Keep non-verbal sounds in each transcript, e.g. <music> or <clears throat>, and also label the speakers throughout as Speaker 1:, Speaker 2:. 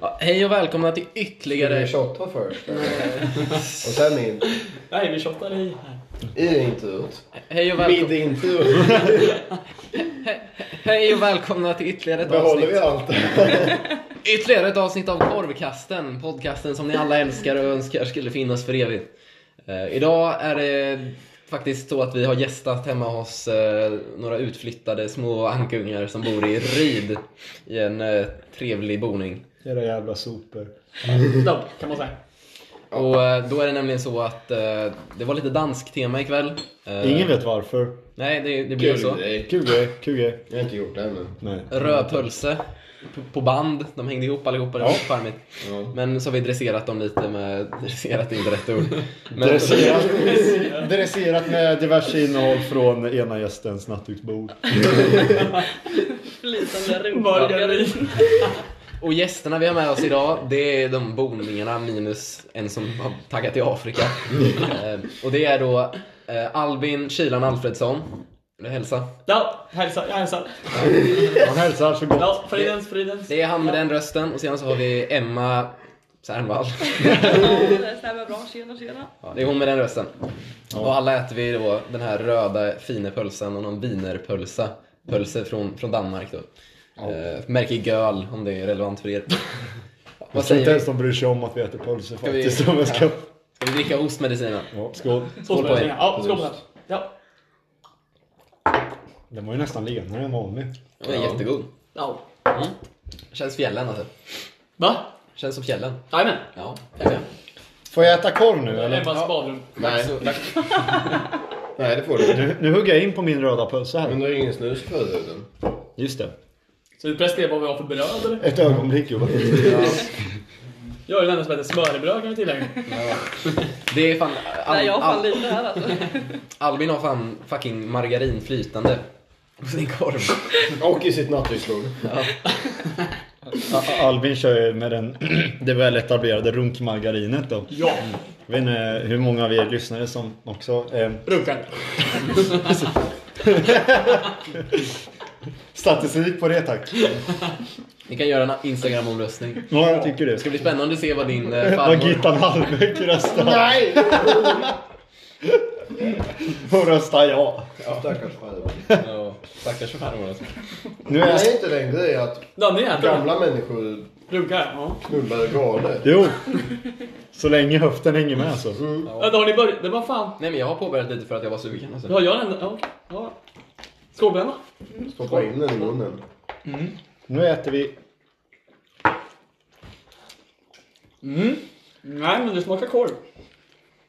Speaker 1: Ja, hej och välkomna till
Speaker 2: Skulle vi
Speaker 1: ytterligare...
Speaker 2: shotta först? eller? och sen in?
Speaker 3: Nej, vi shottar i här.
Speaker 2: I introt?
Speaker 1: Hej och,
Speaker 2: Mid
Speaker 1: välkom...
Speaker 2: introt?
Speaker 1: hej och välkomna till ytterligare ett
Speaker 2: Behåller vi
Speaker 1: avsnitt.
Speaker 2: allt?
Speaker 1: Ytterligare ett avsnitt av Korvkasten, podcasten som ni alla älskar och önskar skulle finnas för evigt. Eh, idag är det faktiskt så att vi har gästat hemma hos eh, några utflyttade små ankungar som bor i Ryd i en eh, trevlig boning.
Speaker 4: Era jävla sopor.
Speaker 3: Dobb, kan man säga.
Speaker 1: Och eh, då är det nämligen så att eh, det var lite dansk tema ikväll. Eh,
Speaker 4: Ingen vet varför.
Speaker 1: Nej, det, det blir
Speaker 2: Kul
Speaker 1: så.
Speaker 2: grej.
Speaker 4: QG, QG.
Speaker 2: Jag har inte gjort det ännu.
Speaker 4: Nej.
Speaker 1: Rödpölse på- på band. De hängde ihop allihopa. Det var
Speaker 4: Ja.
Speaker 1: charmigt.
Speaker 2: Ja.
Speaker 1: Men så har vi dresserat dem lite med... <laughs> Dresserat är inte rätt ord. Men,
Speaker 4: Dresserat, <laughs> dresserat med diverse innehåll från ena gästens nattduksbord.
Speaker 5: Flytande
Speaker 3: Margarin.
Speaker 5: rotmargarin.
Speaker 1: och gästerna vi har med oss idag, det är de boningarna minus en som har taggat till Afrika. Eh, och det är då eh, Albin Kilan Alfredsson. Vill du hälsa?
Speaker 3: Ja, hälsa. Jag hälsar.
Speaker 4: Han hälsar så gott.
Speaker 3: Ja, fridens, fridens.
Speaker 1: Det är han med den rösten. Och sen så har vi Emma Sernvall. <laughs>
Speaker 5: Ja, det stämmer bra. Tjena, tjena.
Speaker 1: Ja, det är hon med den rösten.
Speaker 4: Ja.
Speaker 1: Och alla äter vi då den här röda finepölsen och någon wienerpölsa. Pölse från, från Danmark då. Eh, märke Göl om det är relevant för er. Ja, Vad
Speaker 4: Jag tror
Speaker 1: säger
Speaker 4: inte
Speaker 1: vi?
Speaker 4: ens de bryr sig om att vi äter pölse
Speaker 1: vi-
Speaker 4: faktiskt. Om jag ska...
Speaker 1: Ska vi dricka ostmedicinen?
Speaker 4: ja, skål.
Speaker 1: Skål på er.
Speaker 3: Ja, skål på den. Ja.
Speaker 4: Den var ju nästan lenare än vanlig.
Speaker 1: Den är jättegod.
Speaker 3: Ja.
Speaker 1: Mm. Känns fjällen alltså.
Speaker 3: Va?
Speaker 1: Känns som fjällen.
Speaker 3: Jajamän.
Speaker 1: Ja, jag vet.
Speaker 4: Får jag äta korv nu eller?
Speaker 3: Emmas badrum.
Speaker 2: Nej.
Speaker 1: Så-
Speaker 2: <laughs> Nej, det får du inte.
Speaker 4: Nu, nu hugger jag in på min röda pölse
Speaker 2: Men
Speaker 4: här.
Speaker 2: du har ingen snus på huden.
Speaker 4: Just det.
Speaker 3: Så vi presterar vad vi har för bröd eller?
Speaker 4: Ett ögonblick gubbar.
Speaker 3: Jag är den enda som äter smörrebröd kan vi <laughs> tillägga.
Speaker 1: Det är fan... Al,
Speaker 5: Nej, jag har fan
Speaker 1: Al,
Speaker 5: lite här alltså.
Speaker 1: <laughs> Albin har fan fucking margarin flytande på sin korv.
Speaker 2: Och i sitt nattduksbord.
Speaker 4: A- Albin kör ju med den, <clears throat> det väl etablerade runkmargarinet då.
Speaker 3: Ja.
Speaker 4: Jag vet inte hur många av er lyssnare som också eh,
Speaker 3: Runkar.
Speaker 4: Statistik på det tack.
Speaker 1: Ni kan göra en Instagram-omröstning.
Speaker 4: Ja, jag tycker det.
Speaker 1: Det ska bli spännande att se vad din eh,
Speaker 4: Vad
Speaker 1: farmor...
Speaker 4: Gittan Hallbäck röstar.
Speaker 2: Nej!
Speaker 4: Hon röstar ja.
Speaker 2: Stackars farbror.
Speaker 1: Ja, Stackars farmor alltså.
Speaker 4: Nu är jag...
Speaker 2: Nej, inte längre är att
Speaker 3: Danne äter Gamla.
Speaker 2: gamla människor
Speaker 3: runkar. Ja.
Speaker 2: knullar galet.
Speaker 4: Jo. Så länge höften hänger med så.
Speaker 3: Ja. Då har ni börjat. Det var fan.
Speaker 1: Nej men jag har påbörjat lite för att jag var sugen alltså.
Speaker 3: Då har jag den enda. Ja, okej. Ja. Skål på Emma.
Speaker 2: Stoppa in den i munnen.
Speaker 4: Nu äter vi...
Speaker 3: Mm. Nej, men det smakar korv.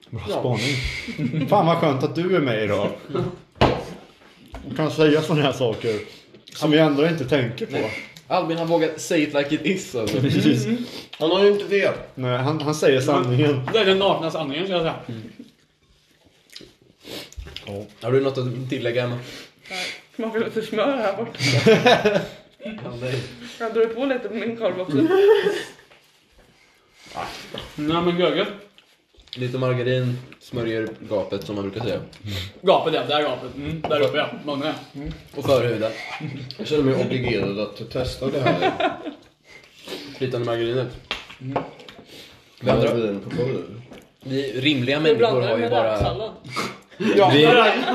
Speaker 4: Bra spaning. Fan vad skönt att du är med idag. Och kan säga sådana här saker. Som vi ändå inte tänker på.
Speaker 1: Albin har vågat say it like it is alltså.
Speaker 4: Precis.
Speaker 2: Han har ju inte det.
Speaker 4: Nej, han, han säger sanningen.
Speaker 3: Det är den nakna sanningen ska jag säga.
Speaker 1: Har du något att tillägga Emma?
Speaker 5: Smakar lite smör här bort. Jag drog på lite på min korv också.
Speaker 3: Nej, men gurgel.
Speaker 1: Lite margarin smörjer gapet som man brukar säga.
Speaker 3: Gapet ja, där är gapet. Mm, där uppe ja. Munnen ja.
Speaker 1: Och förhuden.
Speaker 2: Jag känner mig obligerad att testa det här.
Speaker 1: Flytande margarinet.
Speaker 5: Mm.
Speaker 1: Vi,
Speaker 2: Blanda
Speaker 1: andra,
Speaker 2: vin på korv.
Speaker 1: Mm, vi rimliga
Speaker 5: Du
Speaker 1: människor
Speaker 5: blandar
Speaker 1: har
Speaker 5: den
Speaker 1: ju
Speaker 5: med
Speaker 1: bara...
Speaker 5: räksallad.
Speaker 2: Ja,
Speaker 4: Vi-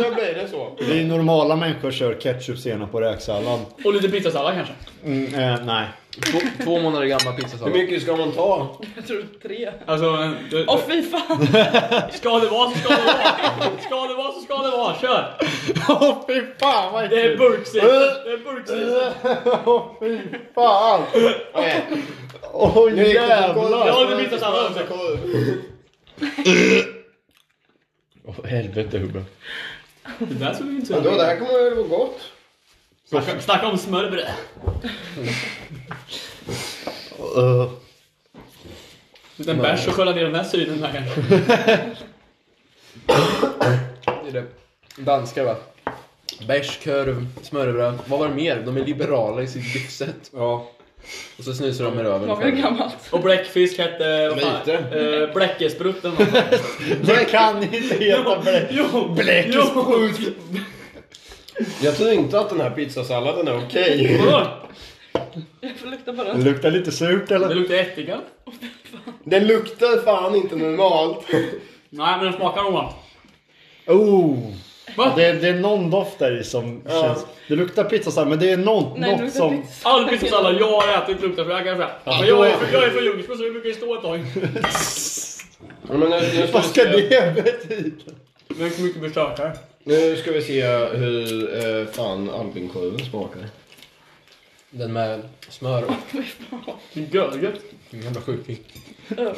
Speaker 2: nu blir det så.
Speaker 4: Vi normala människor kör ketchup, senap och räksallad.
Speaker 3: Och lite pizzasallad kanske.
Speaker 4: Mm, eh, nej.
Speaker 1: Två, två månader gamla
Speaker 2: Hur
Speaker 1: pizzasallad.
Speaker 2: mycket ska man ta?
Speaker 5: Jag tror tre.
Speaker 3: Alltså, en- du,
Speaker 5: Åh fy fan!
Speaker 3: <laughs> ska det vara så ska det vara. Ska det vara så ska det vara. Kör!
Speaker 4: <laughs> Åh fy fan vad
Speaker 3: Det är
Speaker 4: äckligt!
Speaker 3: burksista. Det är burksista.
Speaker 4: Åh fy fan!
Speaker 2: Nej,
Speaker 4: Åh
Speaker 2: nu gick det på
Speaker 4: jävlar!
Speaker 2: korv.
Speaker 3: Jag har inte bytt sallad också.
Speaker 4: Åh helvete Hubbe.
Speaker 3: Det där såg ju inte
Speaker 2: Vadå, det
Speaker 3: så
Speaker 2: här kommer väl vara gott?
Speaker 3: Snacka- Snacka om smörbröd.
Speaker 4: Uh,
Speaker 3: En bärs och skölja ner den här synen här kanske.
Speaker 1: Det är det. Danskar va? Bärs, korv, smörrebröd. Vad var det mer? De är liberala i sitt livssätt.
Speaker 2: Ja.
Speaker 1: Och så snusar de med röven.
Speaker 5: Smakar gammalt.
Speaker 3: Och bläckfisk hette... vad fan,
Speaker 2: Lite.
Speaker 3: eh, <laughs> Bläckesprutten.
Speaker 4: det kan inte heta bläck.
Speaker 3: Jo!
Speaker 4: Bläckesprut!
Speaker 2: Jag tror inte att den här pizzasalladen är okej.
Speaker 3: Vadå?
Speaker 5: Jag får lukta på den.
Speaker 4: Det luktar lite surt
Speaker 3: Det
Speaker 4: eller?
Speaker 3: luktar ättika.
Speaker 2: <laughs> Den luktar fan inte normalt.
Speaker 3: Nej, men den smakar normalt.
Speaker 4: Oh!
Speaker 3: Va?
Speaker 4: Det, det är någon doft där i som
Speaker 2: Ja.
Speaker 4: känns... Det luktar pizza så här, men det är någon,
Speaker 5: Nej, nu
Speaker 4: något
Speaker 5: luktar
Speaker 4: som...
Speaker 5: pizza.
Speaker 3: All pizzasallad jag har ätit luktar för jag kan säga. Men jag är, jag är från Ljungsbro så vi brukar ju stå ett tag.
Speaker 2: Ja, Men nu, nu, ska
Speaker 4: Vad
Speaker 2: vi
Speaker 4: ska
Speaker 2: se,
Speaker 4: det betyda?
Speaker 3: Men hur mycket bestört här.
Speaker 2: nu ska vi se hur eh, fan albinkorven smakar.
Speaker 1: Den med smör och
Speaker 3: Görgött.
Speaker 1: jävla sjuklig.
Speaker 5: Ö.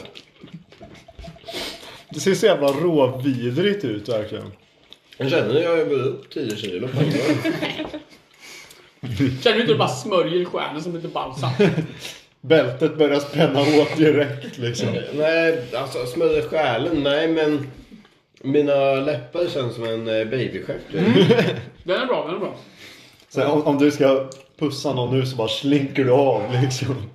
Speaker 4: Det ser så jävla råvidrigt ut verkligen.
Speaker 2: Jag känner att jag går upp 10 kilo på en <laughs> gång.
Speaker 3: Känner du inte hur det bara smörjer stjärnen som lite balsam?
Speaker 4: Bältet börjar spänna åt direkt liksom.
Speaker 2: Nej, alltså smörja själen, nej men mina läppar känns som en eh, babystjärt. <laughs>
Speaker 3: Den är bra, den är bra.
Speaker 4: Så om, om du ska pussa någon nu så bara slinker du av liksom.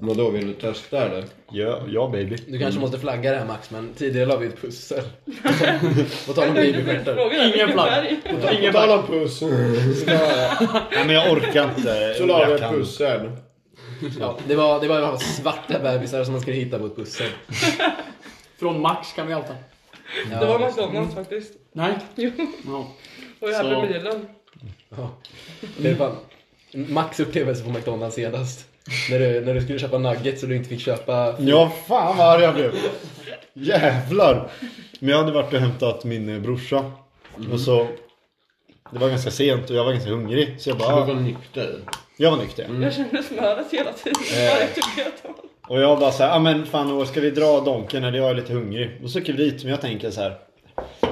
Speaker 2: Men då vill du testa eller?
Speaker 4: Ja, ja baby.
Speaker 1: Du kanske måste flagga det här Max, men tidigare la vi ett pussel. På tal om babystjärtar.
Speaker 5: Frågan är
Speaker 3: Ingen
Speaker 5: vilken
Speaker 3: flagg.
Speaker 5: färg.
Speaker 3: Ingen
Speaker 2: På tal
Speaker 3: bara...
Speaker 2: om puss.
Speaker 4: Nej men jag orkar inte.
Speaker 2: Så la vi ett
Speaker 4: kan.
Speaker 2: pussel.
Speaker 1: Ja, det var det var ju svarta bebisar som man skulle hitta på ett pussel.
Speaker 3: Från Max kan vi alltid.
Speaker 1: Ja.
Speaker 5: Det var McDonalds faktiskt.
Speaker 3: Nej.
Speaker 5: Jo.
Speaker 3: Ja.
Speaker 5: Och jag
Speaker 3: Så.
Speaker 5: hade bilen.
Speaker 1: Ja. Det är fan Max upplevelse på McDonalds senast. När du, när du skulle köpa nuggets och du inte fick köpa...
Speaker 4: Ja, fan vad arg jag blev. Jävlar. Men jag hade varit och hämtat min eh, brorsa. Och så... Det var ganska sent och jag var ganska hungrig. Så jag bara...
Speaker 2: Du
Speaker 4: "Ah."
Speaker 2: var nykter.
Speaker 4: Jag var nykter.
Speaker 5: Jag kände smöret hela tiden.
Speaker 4: Eh.
Speaker 5: Varje tugga jag tog.
Speaker 4: Och jag bara såhär, ja ah, men fan då ska vi dra donken eller jag är lite hungrig. Och så åker vi dit men jag tänker så här.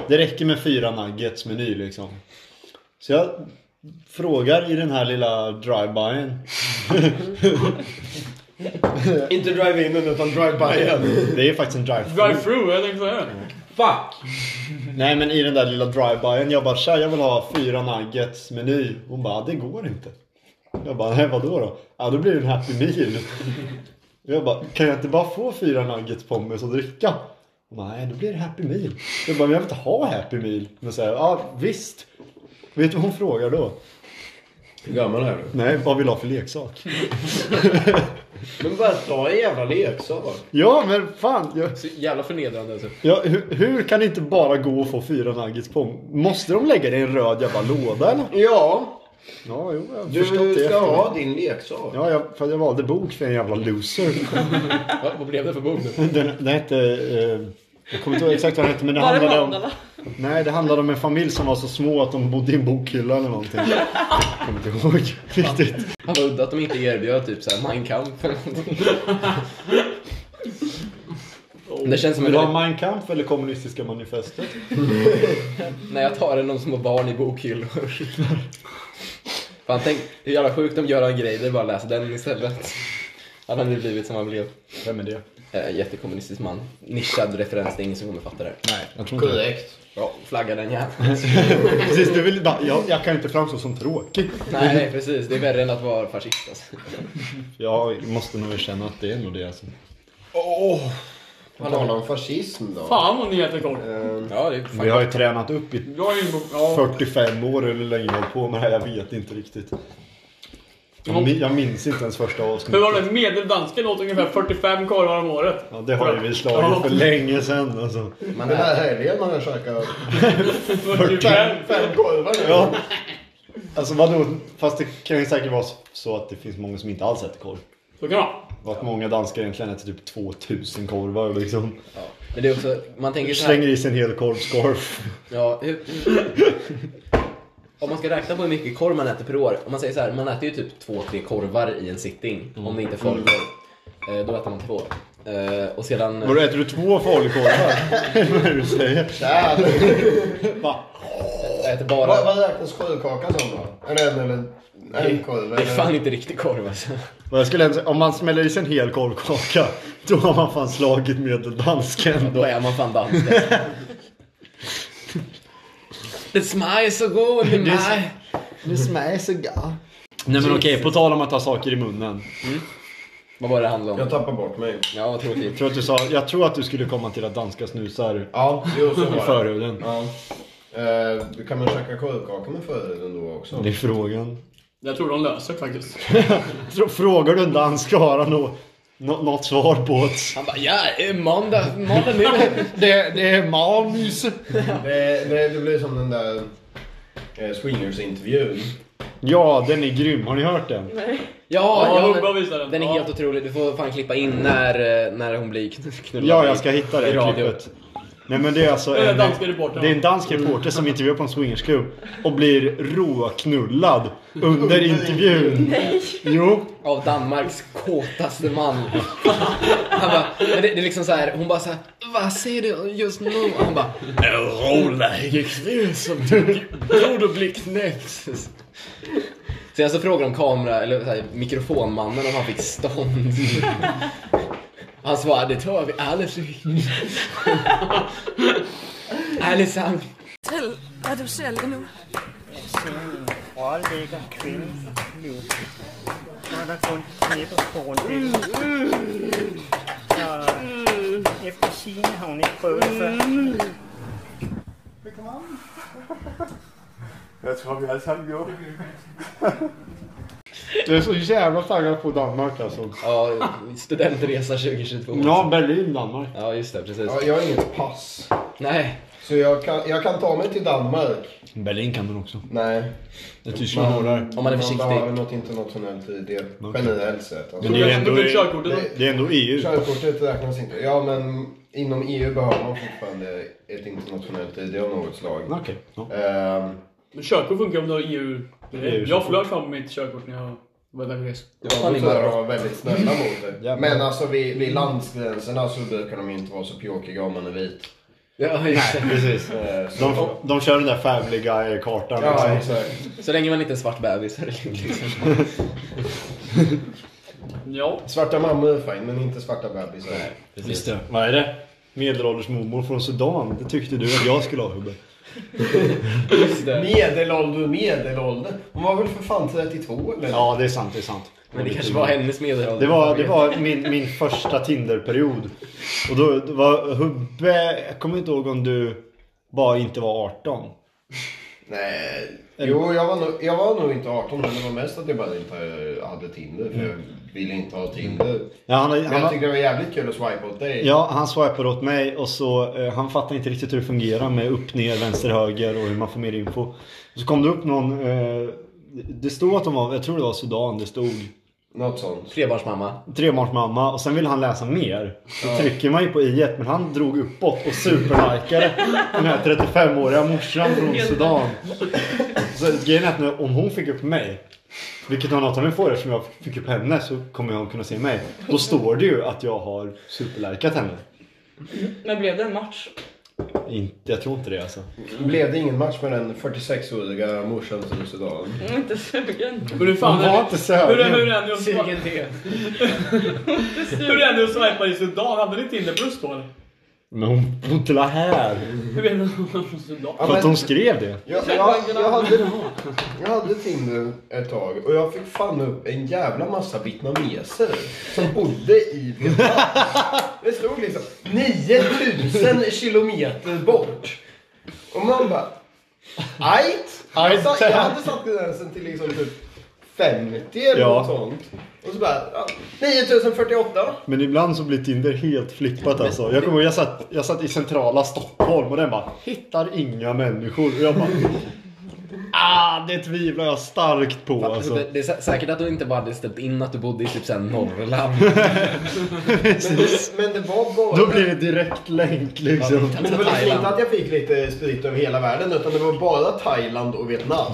Speaker 4: Det räcker med fyra nuggets meny liksom. Så jag frågar i den här lilla drive-byen.
Speaker 2: Inte drive-inen utan drive-byen.
Speaker 4: <laughs> Det är faktiskt en drive-thru.
Speaker 3: Drive-through, jag tänkte säga det.
Speaker 2: Fuck!
Speaker 4: Nej men i den där lilla drive-byen. Jag bara tja jag vill ha fyra nuggets meny. Hon bara det går inte. Jag bara nej vadå då? Ja då blir det en happy meal. Jag bara kan jag inte bara få fyra nuggets pommes och dricka? Hon bara nej då blir det happy meal. Jag bara men jag vill inte ha happy meal. Men så här, ja visst. Vet du vad hon frågar då?
Speaker 2: Hur gammal är du?
Speaker 4: Nej vad vill du ha för leksak?
Speaker 2: Men bara ta en jävla leksak.
Speaker 4: Ja men fan. Jag,
Speaker 1: Så jävla förnedrande alltså.
Speaker 4: jag, hur, hur kan det inte bara gå och få fyra nuggets pommes? Måste de lägga det i en röd jävla låda eller?
Speaker 2: Ja,
Speaker 4: Ja jo jag har
Speaker 2: du
Speaker 4: förstått det
Speaker 2: ska
Speaker 4: efteråt.
Speaker 2: ha din leksak.
Speaker 4: Ja, jag, för jag valde bok för en jävla loser.
Speaker 1: Va, vad blev det för bok nu?
Speaker 4: Den, den hette... Eh, jag kommer inte ihåg exakt vad den hette men det
Speaker 5: Var det
Speaker 4: handlade om...
Speaker 5: mandala?
Speaker 4: Nej, det handlade om en familj som var så små att de bodde i en bokhylla eller någonting. Jag kommer inte ihåg riktigt.
Speaker 1: Han var udda att de inte erbjöd typ såhär Mein Kampf eller någonting. Det känns som
Speaker 4: Vill
Speaker 1: en...
Speaker 4: du ha Mein Kampf eller Kommunistiska Manifestet?
Speaker 1: När jag tar en någon som har barn i bokhyllor. Fan tänk hur jävla sjukt om Göran Greider bara läser den istället. Han hade blivit som han blev.
Speaker 4: Vem är det?
Speaker 1: Eh, jättekommunistisk man. Nischad referens, det är ingen som kommer fatta det. här.
Speaker 4: Nej, jag tror inte det.
Speaker 2: Korrekt.
Speaker 1: Ja, flagga den jäveln.
Speaker 4: Precis, du vill, bara- jag, jag kan inte framstå som tråkig.
Speaker 1: Nej precis, det är värre än att vara fascist alltså.
Speaker 4: Jag måste nog erkänna att det är nog det alltså.
Speaker 2: Åh! På tal om fascism då.
Speaker 3: Fan vad ni äter korv.
Speaker 2: Ehm,
Speaker 1: Ja, det är fan...
Speaker 4: Vi har ju tränat upp i
Speaker 3: Jag är ju... Ja.
Speaker 4: 45 år eller hur länge jag har på med det här, jag vet inte riktigt. Jag min- jag minns inte ens första avsnittet.
Speaker 3: Hur var det? Medeldansken åt ungefär 45 korvar om året.
Speaker 4: Ja, det har ju vi slagit för länge sedan alltså.
Speaker 1: Man
Speaker 2: Den
Speaker 1: är...
Speaker 2: här helgen har jag käkat
Speaker 3: 45?
Speaker 2: fem korvar nu.
Speaker 4: Ja. Alltså vadå? Fast det kan ju säkert vara så att det finns många som inte alls äter korv.
Speaker 3: Så kan det vara.
Speaker 4: Och att många danskar egentligen äter typ 2000 korvar liksom.
Speaker 1: ja. Men det är också, man tänker så
Speaker 4: Slänger
Speaker 1: här,
Speaker 4: i sig en hel korvskorv.
Speaker 1: ja, hur... Om man ska räkna på hur mycket korv man äter per år. Om man säger så här, man äter ju typ två, tre korvar i en sitting. Om det inte är falukorv. Eh, Då äter man två. Eh, Och sedan...
Speaker 4: Vadå äter du två falukorvar? <laughs> Vad är det du säger?
Speaker 2: Där.
Speaker 4: Va?
Speaker 1: Jag eh, äter
Speaker 2: Vad
Speaker 1: bara...
Speaker 2: vad räknas korvkaka som då? En eller en, en korv?
Speaker 1: Det är
Speaker 2: eller-
Speaker 1: fan inte riktig korv alltså.
Speaker 4: Vad jag skulle ens, om man smäller i sig en hel korvkaka, då har man fan slagit medeldansken.
Speaker 1: Då är man fan dansk alltså. Det smaker så god, det
Speaker 4: mig. Nu smäller så gott. Nej men okej, på tal om att ha saker i munnen.
Speaker 1: Vad var det det handlade
Speaker 2: Jag
Speaker 1: om?
Speaker 2: tappar bort mig.
Speaker 1: Ja, vad tråkigt.
Speaker 4: Jag tror att du sa, jag tror att du skulle komma till att danska snusar
Speaker 2: Ja, jo så
Speaker 4: i
Speaker 2: var det.
Speaker 4: förhuden.
Speaker 2: Ja. Eh, kan man käka korvkaka med förhuden då också?
Speaker 4: Det är frågan.
Speaker 3: Jag tror de löser det faktiskt.
Speaker 4: Frå- Frågar du en dansk så har han nog nå- något svar på det.
Speaker 1: Han bara ja, eh, måndag, måndag nu.
Speaker 4: Det, det är manus.
Speaker 2: Det, det, det blir som den där eh, swingers-intervjun.
Speaker 4: Ja, den är grym. Har ni hört den?
Speaker 5: Nej.
Speaker 1: Ja,
Speaker 3: Ja,
Speaker 1: ja
Speaker 3: Hubba
Speaker 1: men,
Speaker 3: visar den.
Speaker 1: den är
Speaker 3: Ja.
Speaker 1: helt otrolig. Du får fan klippa in när, eh, när hon blir knullad.
Speaker 4: Ja, jag ska hitta
Speaker 1: i
Speaker 4: det
Speaker 1: radio.
Speaker 4: klippet. Nej men det är alltså
Speaker 3: Den
Speaker 4: en,
Speaker 3: danska reportern.
Speaker 4: det är en dansk reporter som intervjuar på en swingersklubb och blir råknullad under intervjun. Nej! Jo!
Speaker 1: Av Danmarks kåtaste man. Han bara, men det, det är liksom så här, hon bara så här, vad säger du just nu? Och han bara, en råläge kvinna som trodde att bli knäckt. Sen så frågar de kamera, eller så här, mikrofonmannen om han fick stånd. Han svarade, det tror vi alldeles Ärligt sant.
Speaker 6: Fortæl, hvad du sælger nu.
Speaker 7: Rollægger kvinden nu. Så er der kun knæppet på rundellen. Så efter sine har hun ikke prøvet det før.
Speaker 4: Jag är så jävla taggad på Danmark alltså.
Speaker 1: Ja, studentresa 2022.
Speaker 4: Ja, Berlin, Danmark.
Speaker 1: Ja, just det, precis.
Speaker 2: Ja, jag har inget pass.
Speaker 1: Nej.
Speaker 2: Så jag kan, jag kan ta mig till Danmark.
Speaker 4: Berlin kan man också.
Speaker 2: Nej.
Speaker 4: Det är Tyskland har där.
Speaker 1: Om man är
Speaker 2: Man behöver
Speaker 1: försiktig.
Speaker 2: något internationellt ID. Generellt sett. Alltså.
Speaker 4: Men det är ändå-
Speaker 3: Du fick körkortet.
Speaker 4: Det är ändå E EU.
Speaker 2: Körkortet räknas inte. Ja, men inom EU behöver man fortfarande ett internationellt ID av något slag.
Speaker 4: Okej. ja.
Speaker 2: Ehm,
Speaker 3: Men körkort funkar om du har EU...
Speaker 4: EU-körkort.
Speaker 3: Jag flög fram med mitt körkort när jag var iväg och reste.
Speaker 2: Jag var så där de var väldigt snälla mot det.
Speaker 4: Jävlar.
Speaker 2: Men alltså vid, vid landsgränserna så brukar de inte vara så pjåkiga om man är vit.
Speaker 1: Ja, just det.
Speaker 4: Precis.
Speaker 2: Ehm, så-
Speaker 4: De, de kör den där Family Guy-kartan.
Speaker 2: Ja,
Speaker 4: liksom.
Speaker 2: exakt.
Speaker 1: Så länge man inte är svart bebis är det lugnt. Liksom.
Speaker 3: Ja.
Speaker 2: Svarta mammor är fine, men inte svarta bebisar.
Speaker 4: Just det. Vad är det? Medelålders mormor från Sudan. Det tyckte du att jag skulle ha Hubbe.
Speaker 1: Just det.
Speaker 2: Medelålder, medelålder. Hon var väl för fan 32 eller?
Speaker 4: Ja, det är sant. Det är sant.
Speaker 1: Men det kanske var hennes medelålder.
Speaker 4: Det var, det var min, min första Tinderperiod. Och då det var Hubbe, jag kommer inte ihåg om du bara inte var 18.
Speaker 2: Nej. Jo, jag var, nog, jag var nog inte 18 men det var mest att jag bara inte eh, hade Tinder. För
Speaker 4: Mm.
Speaker 2: jag ville inte ha Tinder.
Speaker 4: Ja, han,
Speaker 2: Men jag
Speaker 4: han,
Speaker 2: tyckte det var jävligt kul att swipa åt dig.
Speaker 4: ja, han swipade åt mig och så eh, han fattade inte riktigt hur det fungerar med upp, ner, vänster, höger och hur man får mer info. Så kom det upp någon, eh, det stod att de var, jag tror det var Sudan, det stod
Speaker 2: Något sånt.
Speaker 1: Trebarnsmamma.
Speaker 4: trebarnsmamma och sen vill han läsa mer. Då trycker man ju på i men han drog uppåt och superlikade den här 35-åriga morsan från Sudan. Så grejen är att nu, om hon fick upp mig, vilket hon antagligen får eftersom jag fick upp henne så kommer hon kunna se mig. Då står det ju att jag har superlikat henne.
Speaker 5: Men blev det en match?
Speaker 4: Inte, jag tror inte det alltså.
Speaker 2: Blev det ingen match med den 46-åriga morsan från Sudan?
Speaker 5: Jag är inte sugen.
Speaker 3: Men hur fan
Speaker 4: Hon var inte
Speaker 3: Hur är hur
Speaker 4: sögen.
Speaker 3: är
Speaker 1: Sugen
Speaker 3: det nu?
Speaker 1: te.
Speaker 3: <laughs> Hur är det att swipa i Sudan? Hade ni Tinder plus då eller?
Speaker 4: Men hon hon till här.
Speaker 3: Hur är det att vara från Sudan?
Speaker 2: Ja,
Speaker 4: För att
Speaker 2: men-
Speaker 4: hon skrev det.
Speaker 2: Jag, jag, jag, hade, jag hade Tinder ett tag och jag fick fan upp en jävla massa vietnameser som bodde i
Speaker 4: <laughs>
Speaker 2: Vietnam. Det stod liksom 9000 kilometer bort. Och man bara... Ajt! Jag sa- jag hade satt gränsen till liksom typ 50 eller
Speaker 4: Ja.
Speaker 2: något sånt. Och så bara... Ja, 9048!
Speaker 4: Men ibland så blir Tinder helt flippat alltså. Jag kommer ihåg, jag satt, jag satt i centrala Stockholm och den bara hittar inga människor. Och jag bara ah, det tvivlar jag starkt på
Speaker 1: Alltså,
Speaker 4: alltså.
Speaker 1: det, det är sä- säkert att du inte bara hade ställt in att du bodde i typ såhär Norrland.
Speaker 2: Men det, men det var bara...
Speaker 4: Då blir det direkt länk liksom.
Speaker 2: Men det var liksom inte att jag fick lite sprit över hela världen utan det var bara Thailand och Vietnam.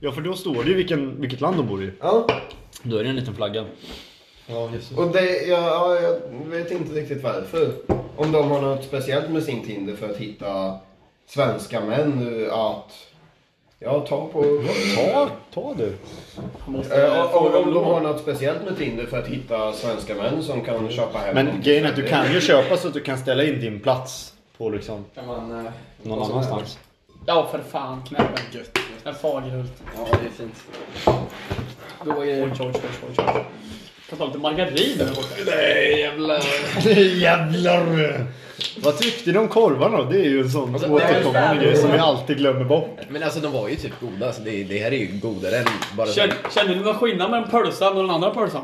Speaker 4: Ja för då står det ju vilken, vilket land de bor i.
Speaker 2: Ja.
Speaker 4: Då är det en liten flagga.
Speaker 2: Och det, ja, ja, jag vet inte riktigt varför. Om de har något speciellt med sin Tinder för att hitta svenska män eh, att... Ja, ta på...
Speaker 4: Ta, ta du.
Speaker 2: Eh, och- och om de har något speciellt med Tinder för att hitta svenska män som kan köpa hem
Speaker 4: Men
Speaker 2: dem.
Speaker 4: grejen är att du kan ju köpa så att du kan ställa in din plats på liksom
Speaker 1: Kan man, eh,
Speaker 4: någon annanstans.
Speaker 3: Ja för fan, knäppen. En Fagerhult.
Speaker 1: ja, det är fint. Då är
Speaker 3: Oj, oj, oj, oj, oj. Kan ta lite margarin där borta.
Speaker 1: Nej jävlar.
Speaker 4: <laughs> Jävlar! Vad tyckte du om korvarna då? Det är ju en sån
Speaker 1: Alltså,
Speaker 4: återkommande grej som vi alltid glömmer bort.
Speaker 1: Men alltså de var ju typ goda. Alltså, det, det här är ju godare än bara...
Speaker 3: Känner, känner ni någon skillnad mellan pölsan och den andra pölsan?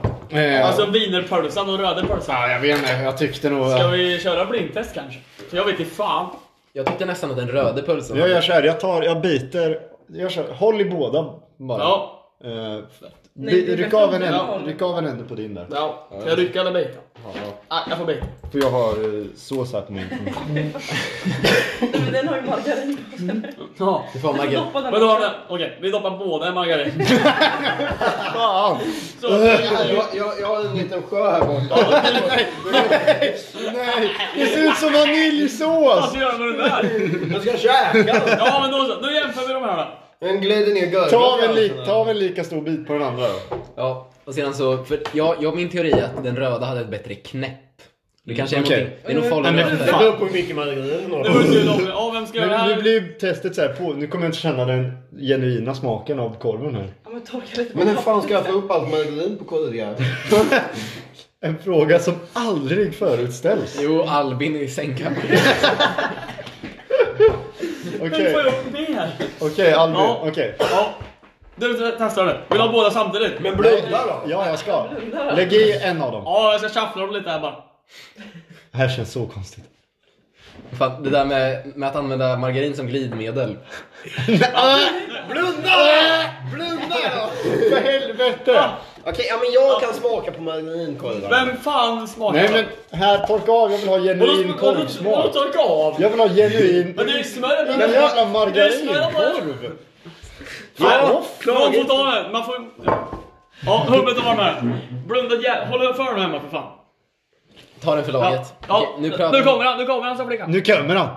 Speaker 3: Alltså wienerpölsan och röda pölsan.
Speaker 4: jag vet inte. Jag tyckte nog...
Speaker 3: Ska vi köra blindtest kanske? Jag vet inte fan.
Speaker 1: Jag tyckte nästan att den röda pölsen
Speaker 4: Jag gör så här. Jag tar, jag biter. Jag kör, håll i båda bara.
Speaker 3: Ja,
Speaker 4: Eh,
Speaker 5: Nej,
Speaker 4: bi-
Speaker 5: det är
Speaker 4: ryck,
Speaker 5: bättre
Speaker 4: av en
Speaker 5: om jag
Speaker 4: ände,
Speaker 5: håller.
Speaker 4: ryck av en ände på din där.
Speaker 3: ja. Ska jag rycka eller bita? Ah, jag får bita.
Speaker 4: För jag har eh, sås här på min.
Speaker 5: Nej, men den har ju margarin.
Speaker 3: Ja.
Speaker 1: Du får margarin.
Speaker 5: Doppa den.
Speaker 3: Men då har den, okej, vi doppar båda i margarin.
Speaker 4: Fan!
Speaker 3: Så,
Speaker 2: Jag, jag, jag, jag har en liten sjö här borta.
Speaker 4: Nej! Det ser ut som vaniljsås!
Speaker 3: vad gör jag med den där?
Speaker 2: Jag ska käka den.
Speaker 3: Ja men då så, nu jämför vi de här då.
Speaker 2: Den glider ner gurglet.
Speaker 4: Ta av en, li- ta av en lika stor bit på den andra då.
Speaker 1: Ja, och sedan så... För jag, jag, min teori är att den röda hade ett bättre knäpp. Det kanske är
Speaker 4: Mm, Okej.
Speaker 1: någonting... Det är nog farligt
Speaker 4: men
Speaker 1: röda.
Speaker 4: fan.
Speaker 2: beror på hur mycket margarin du
Speaker 3: Nu
Speaker 2: har.
Speaker 3: får vi se dem. Ja, vem ska göra det
Speaker 4: Men nu
Speaker 3: här?
Speaker 4: blir testet så här på. Nu kommer jag inte känna den genuina smaken av korven här.
Speaker 5: Ja, men torka lite på
Speaker 2: Men hur
Speaker 5: den.
Speaker 2: fan ska jag få upp allt margarin på kollegan?
Speaker 4: En fråga som aldrig förutställs.
Speaker 1: Jo, Albin i sängkammaren.
Speaker 4: Okej,
Speaker 3: Hur får
Speaker 4: okej
Speaker 3: jag upp mer?
Speaker 4: Albin.
Speaker 3: Ja.
Speaker 4: Okej.
Speaker 3: Ja. Du testar nu. Vill du ha båda samtidigt?
Speaker 2: Men blunda då!
Speaker 4: Ja, jag ska.
Speaker 5: Blunda då.
Speaker 4: Lägg i en av dem.
Speaker 3: Ja, jag ska shuffla dem lite här bara.
Speaker 4: Det här känns så konstigt.
Speaker 1: Fan, det där med, med att använda margarin som glidmedel.
Speaker 2: Blunda då!
Speaker 4: För helvete!
Speaker 2: Okej, ja men jag kan smaka på margarin kollegan.
Speaker 3: Vem fan smakar
Speaker 4: Nej men här, torka av. Jag vill ha genuin
Speaker 3: Vadå
Speaker 4: korvsmak.
Speaker 3: torka av?
Speaker 4: Jag vill ha genuin...
Speaker 3: Men det är ju smör på
Speaker 4: Men jävla margarin!
Speaker 3: Korv!
Speaker 4: Ja,
Speaker 3: Någon får ta den här. Man får... Ja, huvudet av den här. Blunda jä... Håll för den hemma för fan.
Speaker 1: Ta den för
Speaker 3: Ja,
Speaker 1: laget.
Speaker 3: ja.
Speaker 1: Okej,
Speaker 3: Nu,
Speaker 1: pratar vi-
Speaker 3: kommer han, nu kommer han som flicka.
Speaker 4: Nu kommer han!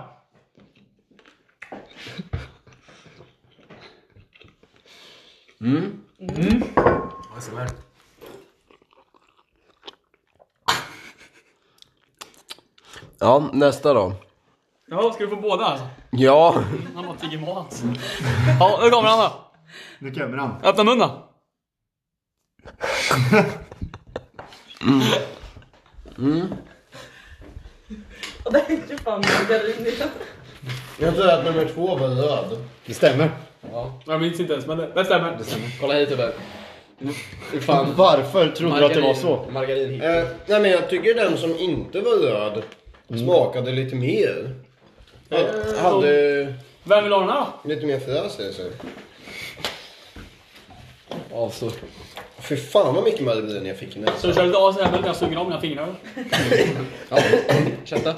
Speaker 2: Ja, nästa då.
Speaker 3: Jaha, ska du få båda alltså?
Speaker 2: Ja.
Speaker 3: Han bara tigger mat. Ja, nu kommer han då.
Speaker 4: Nu kommer han.
Speaker 3: Öppna munnen då.
Speaker 5: Och det är ju fan margarin i den.
Speaker 2: Jag tror att nummer två var röd.
Speaker 4: Det stämmer.
Speaker 3: Jag minns inte ens men det, det stämmer.
Speaker 1: Kolla hit Tobbe. Hur fan...
Speaker 4: Varför trodde du att det var så?
Speaker 1: Margarin hit.
Speaker 2: Eh, nej men jag tycker den som inte var röd Mm. smakade lite mer. Eh, hade
Speaker 3: Vem vill ha den här då?
Speaker 2: lite mer fräs i sig.
Speaker 1: Avstår.
Speaker 2: Fy fan vad mycket margarin jag fick i
Speaker 3: Så
Speaker 2: näsan.
Speaker 3: jag kör lite av så här medan jag suger av mina fingrar.
Speaker 1: Ja, kötta.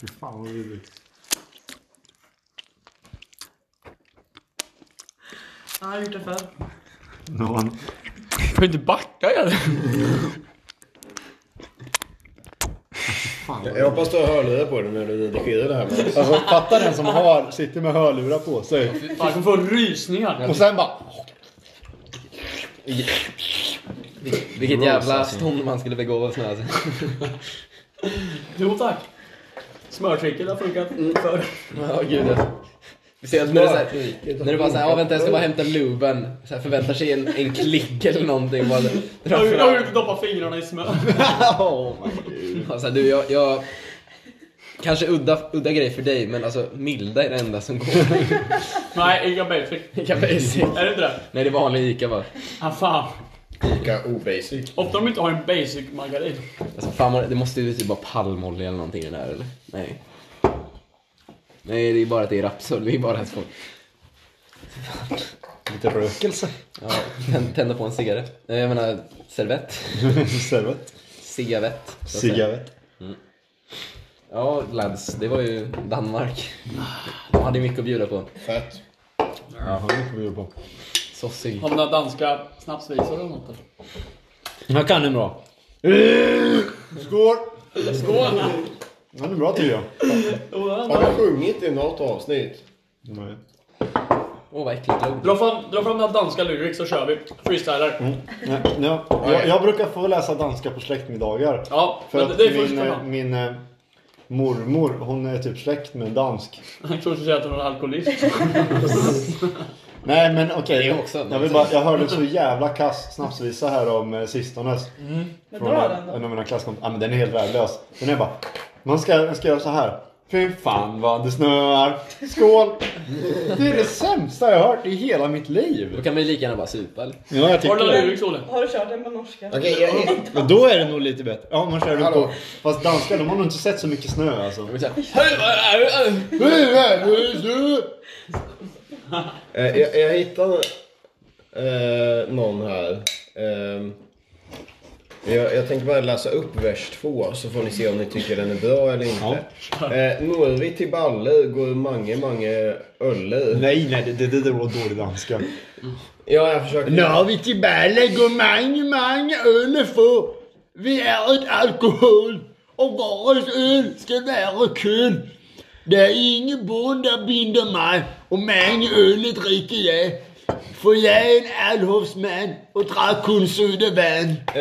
Speaker 4: Fy fan vad vidrigt.
Speaker 5: Ja, jag har gjort det förr.
Speaker 4: Någon.
Speaker 3: Du får inte backa eller?
Speaker 2: Jag hoppas du har hörlurar på dig när du redigerar det här. Mats.
Speaker 4: Alltså fatta den som har, sitter med hörlurar på sig
Speaker 3: Fan, jag kommer få rysningar.
Speaker 4: och sen bara...
Speaker 1: Vil- Vilket jävla stånd man skulle begåvas med alltså.
Speaker 3: Jo tack. Smörtricket har funkat
Speaker 5: Mm.
Speaker 3: förr.
Speaker 1: Ja, gud alltså. Speciellt när du såhär, när du bara såhär, ja vänta jag ska bara hämta luben. Så här, förväntar sig en, en klick eller någonting. Bara,
Speaker 3: Jag
Speaker 1: dra
Speaker 3: har ju- jag har
Speaker 1: fram.
Speaker 3: ju doppat fingrarna i smör.
Speaker 4: Oh my god.
Speaker 1: Ja, så här, Alltså, du jag, jag... Kanske udda, udda grej för dig men alltså milda är det enda som går.
Speaker 3: Nej, Ica Basic.
Speaker 1: Ica Basic.
Speaker 3: Är det inte det?
Speaker 1: <laughs> Nej det är vanlig Ica bara.
Speaker 3: Ah, fan.
Speaker 2: Ica obasic.
Speaker 3: Ofta de inte har en basic margarin.
Speaker 1: Alltså fan vad- det måste ju typ vara palmolja eller någonting i den här eller? Nej. Nej det är bara att det är rapsolja, det är bara att folk
Speaker 4: Lite rökelse.
Speaker 1: ja, tän- tänder på en cigarett. Nej, Jag menar servett.
Speaker 4: Servett.
Speaker 1: Cigavett. så att säga.
Speaker 4: Cigarett.
Speaker 1: Ja lads, det var ju Danmark. De hade ju mycket att bjuda på.
Speaker 2: Fett.
Speaker 4: Jaha, det får vi jobba på.
Speaker 1: Sossig.
Speaker 3: Har man några danska snapsvisor eller något? eller?
Speaker 4: Jag kan den bra. Skål!
Speaker 3: Skål!
Speaker 4: Den är bra tycker jag.
Speaker 2: Har jag sjungit i något avsnitt?
Speaker 4: Nej.
Speaker 1: Åh vad äckligt det låter.
Speaker 3: Dra fram, dra fram dina danska lyrics så kör vi.
Speaker 4: Mm.
Speaker 3: Freestylar.
Speaker 4: Nej, nej. Jag, jag brukar få läsa danska på släktmiddagar.
Speaker 3: Ja,
Speaker 4: För
Speaker 3: men
Speaker 4: att
Speaker 3: det, det är
Speaker 4: min,
Speaker 3: första
Speaker 4: eh,
Speaker 3: man.
Speaker 4: min eh, mormor, hon är typ släkt med en dansk.
Speaker 3: Han tror att du säger att hon är alkoholist.
Speaker 4: Nej men okej.
Speaker 1: Det också, men
Speaker 4: jag, vill bara, jag hörde en så jävla kass snapsvisa här om eh, sistones.
Speaker 5: Men
Speaker 4: Från
Speaker 5: dra den då.
Speaker 4: en av mina klasskompisar. Ja men den är helt värdelös. Den är bara. Man ska, man ska göra så här. Fy fan vad det snöar. Skål! Det är det sämsta jag har hört i hela mitt
Speaker 1: Då
Speaker 4: liv.
Speaker 1: kan man ju lika gärna bara supa eller?
Speaker 8: Ja, jag
Speaker 3: Har
Speaker 8: tycker
Speaker 3: du någon
Speaker 8: det.
Speaker 3: lyrik Olle?
Speaker 5: Har du kört den på norska?
Speaker 2: Okej, jag-
Speaker 8: Men då är det nog lite bättre. Ja, man kör runt
Speaker 2: Hallå.
Speaker 8: på.
Speaker 4: Fast danskar de har nog inte sett så mycket snö alltså.
Speaker 1: Men så här, "Hej, vad är det?"
Speaker 2: Eh, jag, jag hittade eh, någon här. Eh, jag, jag tänkte bara läsa upp vers två så får ni se om ni tycker den är bra eller inte. Eh, Norvi till baller går mange mange öller.
Speaker 4: Nej nej det, det, det var dålig danska.
Speaker 2: Ja, jag försöker.
Speaker 8: vi till Berle går många, många öl få. Vi är ett alkohol och varens öl ska vara kul. Det är ingen bond som binder mig och många öl dricker jag. För jag är en allhovsman och drack kun sudevän.
Speaker 2: Eh,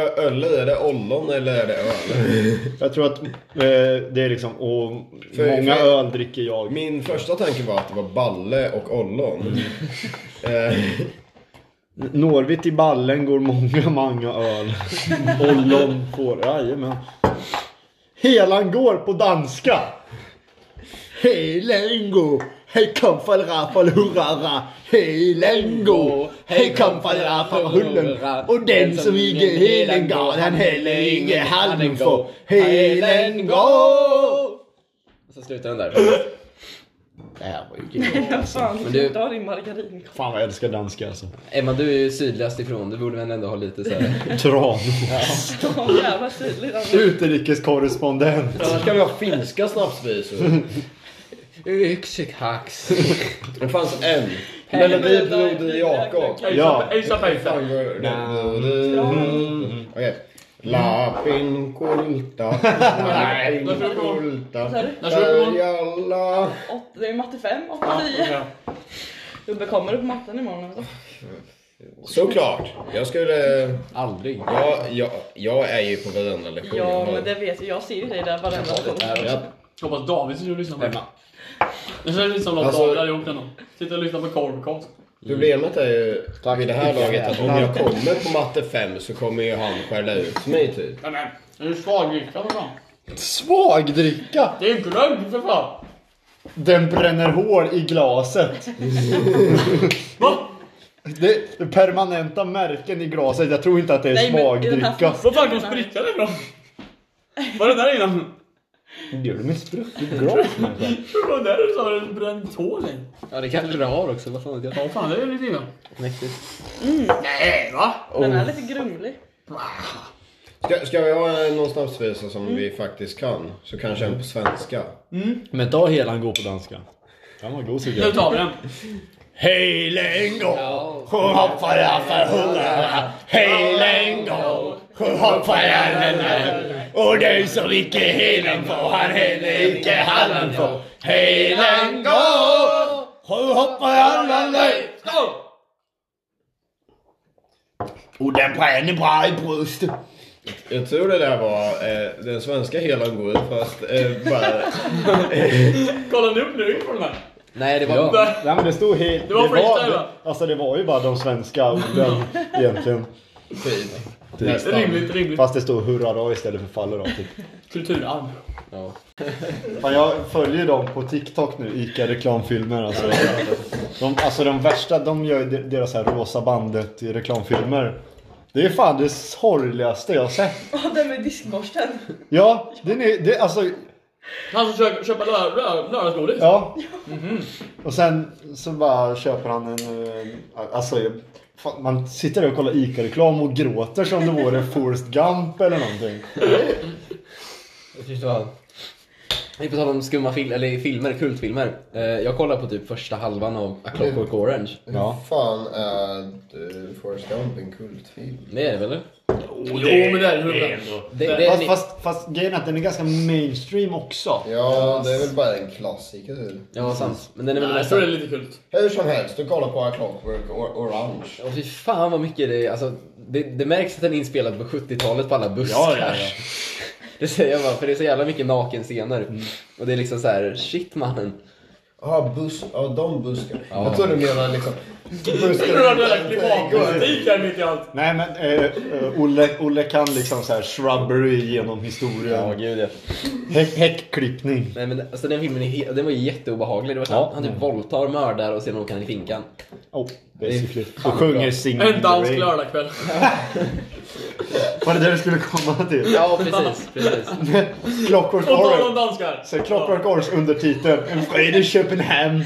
Speaker 2: ö- Öller, är det ollon eller är det öl?
Speaker 4: Jag tror att eh, det är liksom. Och
Speaker 2: För-
Speaker 4: många
Speaker 2: för-
Speaker 4: öl dricker jag.
Speaker 2: Min första tanke var att det var balle och ollon. Eh,
Speaker 4: Norvitt i ballen går många, många öl. Ollon får... Jajamän. Helan går på danska.
Speaker 8: Hej Lengo! Hej Kamfal Rafal Hurrara! Hej Lengo! Hej Kamfal Rafal Hullen! Och den som inte helen går, han heller inge hallen får. Hej Lengo!
Speaker 1: Och så slutar den där.
Speaker 8: Det här var ju grymt.
Speaker 5: Ja, fan,
Speaker 1: Men du-
Speaker 5: du har din margarin.
Speaker 4: Fan vad jag älskar danska alltså.
Speaker 1: <laughs> Emma, du är ju sydligast ifrån. Du borde väl ändå ha lite så <laughs> här.
Speaker 4: Tran.
Speaker 5: Ja, jävla tydligt. alltså.
Speaker 4: Utrikeskorrespondent.
Speaker 2: Annars kan vi ha finska snapsvisor.
Speaker 1: Yxikax.
Speaker 2: Det fanns en. Melodi Broder Jakob.
Speaker 4: Ja.
Speaker 3: ASAP ASAP.
Speaker 2: Mm. Okej. Lapin <laughs> kulta, lapin
Speaker 3: Varför då?
Speaker 2: kulta,
Speaker 5: sa du?
Speaker 3: Varför då?
Speaker 2: bärjalla.
Speaker 5: Åt- Det är matte 5, 8,
Speaker 3: Ja,
Speaker 5: 9.
Speaker 3: okej.
Speaker 5: Ubbe, kommer du på matten imorgon? Alltså?
Speaker 2: Såklart. Jag skulle...
Speaker 1: Aldrig.
Speaker 2: Jag, jag, jag är ju på varenda lektion.
Speaker 5: Ja, men det vet jag. Jag ser ju dig där varenda gång.
Speaker 2: Jag,
Speaker 3: Hoppas David sitter och lyssnar på
Speaker 1: Emma.
Speaker 3: liksom det. Det känns lite som något
Speaker 2: Alltså-
Speaker 3: David hade gjort ändå. Sitter och lyssnar på korvkast.
Speaker 2: problemet är ju vid det här laget att om <laughs> jag kommer på matte 5 så kommer ju han skälla ut mig typ.
Speaker 3: Nej men, det är ju svagdricka för fan.
Speaker 4: Svagdricka!
Speaker 3: Det är ju glögg för fan.
Speaker 4: Den bränner hål i glaset.
Speaker 3: Va?
Speaker 4: Det, det permanenta märken i glaset. Jag tror inte att det är
Speaker 5: Nej, men i den här
Speaker 4: svagdricka.
Speaker 5: flaskan-
Speaker 3: Var fan kom sprickan ifrån? Var det där innan?
Speaker 4: Gör du med sprucket glas? människa?
Speaker 3: Det var där du sa en bränd tå dig.
Speaker 1: Ja, det kanske du har också. Vad fan vet jag?
Speaker 3: Ja fan, det är lite illa.
Speaker 1: Mäktigt.
Speaker 3: Nej va?
Speaker 5: Den är lite grumlig.
Speaker 2: Ska, ska vi ha någon snapsvisa som
Speaker 5: Mm.
Speaker 2: vi faktiskt kan? Så kanske en på svenska.
Speaker 4: Men ta helan går på danska. Den var god tycker
Speaker 3: Nu
Speaker 4: jag.
Speaker 3: tar vi den.
Speaker 8: Hej Lengo! Hoppar Rafal Hurrara! Hej Lengo! Hoppar Rafal Och den som icke helen får, han heller icke hallen får. Hej Lengo! Hoppar Rafal Hurrara!
Speaker 3: Skål!
Speaker 8: Och den bränner bra i bröstet.
Speaker 2: Jag tror det där var eh, den svenska helan går fast eh, bara...
Speaker 3: Kolla nu upp nu på den här.
Speaker 1: Nej, det var...
Speaker 4: Nej men det stod helt...
Speaker 3: Det var freestyle, va?
Speaker 4: det- Alltså det var ju bara de svenska
Speaker 3: <laughs>
Speaker 4: orden egentligen.
Speaker 2: Typ.
Speaker 4: Nästan.
Speaker 3: Rimligt, rimligt.
Speaker 4: Fast det står hurrara istället för fallera typ.
Speaker 3: Kulturarv.
Speaker 1: Ja.
Speaker 4: Fan, jag följer dem på TikTok nu, ICA reklamfilmer alltså. De, alltså de värsta, de gör ju de- deras här rosa bandet i reklamfilmer. Det är fan det sorgligaste jag har sett.
Speaker 5: Ja, den med diskborsten.
Speaker 4: Ja, det är, det, alltså,
Speaker 3: Han som köper, köper lö- lö- lördagsgodis.
Speaker 4: ja. Och sen så bara köper han en, eh, alltså jag- fan, man sitter där och kollar ICA-reklam och gråter som det vore Forrest Gump eller någonting.
Speaker 1: Jag tyckte det var... Vi på tal om skumma fil- eller filmer, kultfilmer. Eh, jag kollar på typ första halvan av A Clockwork
Speaker 8: Mm.
Speaker 1: Orange.
Speaker 4: Ja.
Speaker 2: fan är Forrest Gump en kultfilm?
Speaker 1: Det är det väl? eller?
Speaker 3: Jo men det är det.
Speaker 1: Det, det,
Speaker 4: Fast,
Speaker 1: ni-
Speaker 4: fast, fast grejen är att den är ganska mainstream också.
Speaker 2: Ja, det är väl bara en klassiker. typ.
Speaker 1: Ja, sant. Men den är väl
Speaker 3: Nej, Jag tror det är lite kul.
Speaker 2: Hur som helst, du kollar på A Clockwork O- Orange.
Speaker 1: Ja, fy fan vad mycket det är. Alltså, det, det märks att den är inspelad på 70-talet på alla buskar.
Speaker 4: Ja,
Speaker 1: <laughs>
Speaker 4: ja, ja.
Speaker 1: Mm. Det säger jag bara, för det är så jävla mycket nakenscener. Och det är liksom så här, shit mannen.
Speaker 2: Jaha, buss. Ja, de buskarna.
Speaker 1: Ja.
Speaker 2: Jag tror du menar liksom buskarna.
Speaker 3: Rörde klimatpolitik här mitt i allt.
Speaker 4: Nej men eh, eh, Olle, Olle kan liksom så här shrubbery genom
Speaker 1: Ja,
Speaker 4: historien.
Speaker 1: gud ja.
Speaker 4: Hä- Häckklippning.
Speaker 1: Nej, men, alltså, den filmen är, he- den var ju jätteobehaglig. Det var så,
Speaker 4: Ja.
Speaker 1: Han typ våldtar, mördar och sen åker han i finkan.
Speaker 4: Oh, basically.
Speaker 1: Det är fan
Speaker 4: Och sjunger
Speaker 1: bra.
Speaker 4: Sing in
Speaker 3: En
Speaker 4: the
Speaker 3: dansk
Speaker 4: rain.
Speaker 3: lördagkväll.
Speaker 4: Var det det du skulle komma till?
Speaker 1: <laughs> <laughs> Ja, precis. precis.
Speaker 4: Clockwork
Speaker 3: Och tal om
Speaker 4: Orange.
Speaker 3: danskar.
Speaker 4: Så Clockwork Orange undertitel. En fredag i Köpenhamn.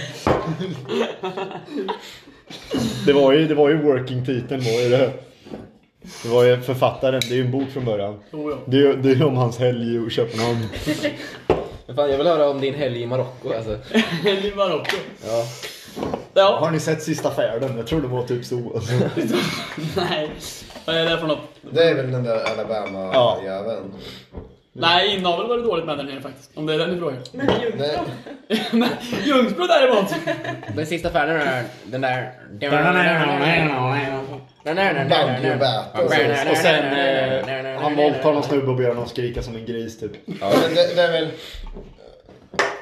Speaker 4: Det var ju, det var ju working-titeln var ju det. Det var ju författaren, det är ju en bok från början.
Speaker 3: Jo, ja.
Speaker 4: Det är, det är om hans helg i Köpenhamn.
Speaker 1: Men fan, jag vill höra om din helg i Marocko <laughs> alltså.
Speaker 3: <laughs> En i Marocko.
Speaker 1: Ja.
Speaker 3: Ja.
Speaker 4: Har ni sett Sista färden? Jag tror det var typ så. Alltså.
Speaker 3: Nej. Vad är det för något?
Speaker 2: Det är väl den där
Speaker 4: Ja.
Speaker 2: Alabama-jäveln.
Speaker 3: Nej, inavel var det dåligt med den här faktiskt. Om det är den du frågar. <laughs>
Speaker 5: Men Ljung-
Speaker 2: Nej.
Speaker 3: Men Ljungsbro däremot.
Speaker 1: Den sista färden är den där...
Speaker 2: Bambi och Bert. Och sen-
Speaker 4: Och sen eh, han våldtar någon snubbe och ber honom skrika som en gris typ.
Speaker 2: Ja, men det, det är väl... eh,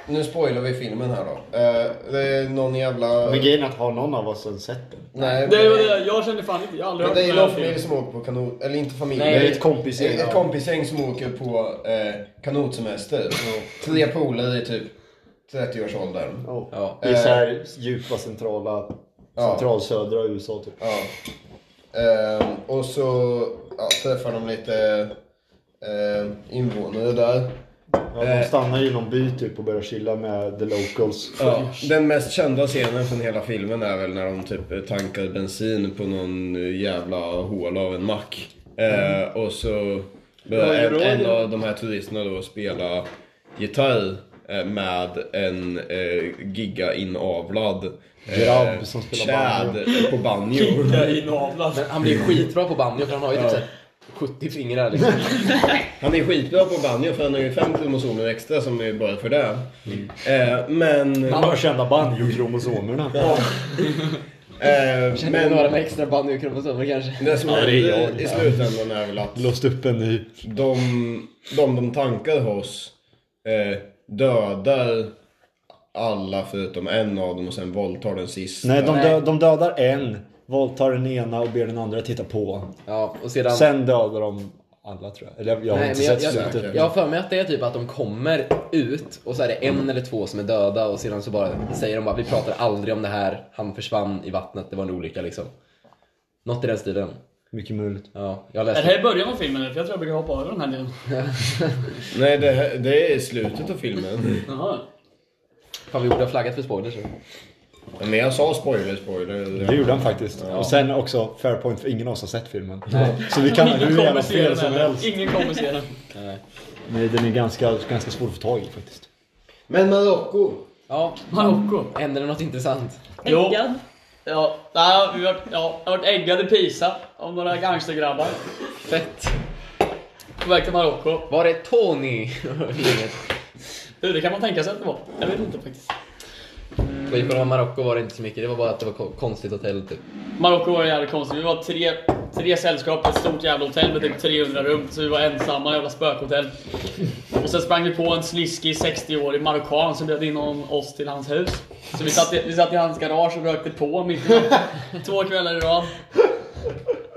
Speaker 2: Nu spoilar vi filmen här då. Eh, det är någon jävla...
Speaker 4: Men grejen är att har någon av oss ens sett den?
Speaker 2: Nej, men-
Speaker 3: Det var det. Jag kände fan inte, jag har aldrig
Speaker 2: Men det är
Speaker 3: hört
Speaker 2: någon
Speaker 3: den här
Speaker 2: familj
Speaker 3: filmen.
Speaker 2: som åker på kanot... Eller inte familj.
Speaker 1: Nej,
Speaker 2: men-
Speaker 4: det är ett kompisgäng,
Speaker 2: Ett,
Speaker 4: ja.
Speaker 2: ett kompisgäng som åker på eh, kanotsemester. Tre polare i typ 30-årsåldern.
Speaker 4: Ja.
Speaker 1: Ja.
Speaker 4: I så här djupa centrala,
Speaker 2: Ja.
Speaker 4: centralsödra USA typ.
Speaker 2: Ja. Ehm, och så ja, träffar de lite ehm, invånare där.
Speaker 4: Ja,
Speaker 2: Eh.
Speaker 4: de stannar i någon by typ och börjar chilla med the locals.
Speaker 2: Ja, den mest kända scenen från hela filmen är väl när de typ tankar bensin på någon jävla håla av en mack. Eh, och så börjar en, en av de här turisterna då spela gitarr eh, med en eh, giga inavlad eh,
Speaker 4: Grabb som spelar
Speaker 2: tjäd på banjo.
Speaker 4: <laughs>
Speaker 3: Jag är inavlad.
Speaker 1: Men han blir ju skitbra på banjo för han har ju typ såhär 70 fingrar <laughs> liksom.
Speaker 2: Han är skitbra på banjo för han har ju fem kromosomer extra som är bara för det.
Speaker 4: Mm.
Speaker 2: Eh, men...
Speaker 4: De har kända banjokromosomerna.
Speaker 2: Eh,
Speaker 1: Känner du
Speaker 2: men
Speaker 1: några med extra banjo-kromosomer kanske?
Speaker 2: det som
Speaker 4: Ja, det är
Speaker 2: händer
Speaker 4: jag.
Speaker 2: i slutändan är väl att
Speaker 4: Låst upp en ny.
Speaker 2: de de, de tankar hos eh, dödar alla förutom en av dem och sen våldtar den sista.
Speaker 4: Nej, de,
Speaker 1: Nej.
Speaker 4: dö- de dödar en, våldtar den ena och ber den andra titta på.
Speaker 1: Ja, och sedan...
Speaker 4: Sen dödar de alla tror jag. Eller jag har
Speaker 1: Nej,
Speaker 4: inte
Speaker 1: men jag,
Speaker 4: sett
Speaker 1: jag,
Speaker 4: slutet.
Speaker 1: jag har för mig att det är typ att de kommer ut och så är det en eller två som är döda och sedan så bara säger de bara vi pratar aldrig om det här, han försvann i vattnet, det var en olycka liksom. Något i den stilen.
Speaker 4: Mycket möjligt.
Speaker 1: Ja, jag
Speaker 3: Är det
Speaker 1: läste.
Speaker 3: här i början av filmen? För jag tror jag brukar hoppa över den här delen.
Speaker 2: Nej, det, här- det är slutet av filmen.
Speaker 3: Jaha.
Speaker 1: Fan vi borde ha flaggat för spoilers. så.
Speaker 2: Men jag sa spoiler, spoiler.
Speaker 4: Det gjorde han faktiskt. Och sen också fair point för ingen av oss har sett filmen. Så vi kan ha
Speaker 3: <laughs> Ingen
Speaker 4: hur jävla
Speaker 3: kommer se
Speaker 4: fel
Speaker 3: den
Speaker 4: som
Speaker 3: heller.
Speaker 4: helst.
Speaker 3: Ingen kommer se den.
Speaker 4: Nej, den är ganska, ganska svår att få tag i faktiskt.
Speaker 2: Men Marocko.
Speaker 1: Ja,
Speaker 3: Marocko.
Speaker 1: händer det något intressant?
Speaker 3: Jo.
Speaker 5: Äggad.
Speaker 3: Ja, nej, vi har, ja, jag har varit äggad i Pisa av några gangstergrabbar
Speaker 1: Fett.
Speaker 3: på väg till Marocko.
Speaker 1: Var är Tony? <laughs> Inget.
Speaker 3: Du, det kan man tänka sig att det var. Jag vet inte faktiskt.
Speaker 1: Och I själva Marocko var det inte så mycket, det var bara att det var ko- konstigt hotell typ.
Speaker 3: Marocko var jävligt konstigt. Vi var tre, tre sällskap på ett stort jävla hotell med typ 300 rum. Så vi var ensamma, jävla spökhotell. Och sen sprang vi på en sliskig 60-årig marockan som bjöd in om oss till hans hus. Så vi satt, i, vi satt i hans garage och rökte på mitt i natten. Två kvällar i rad.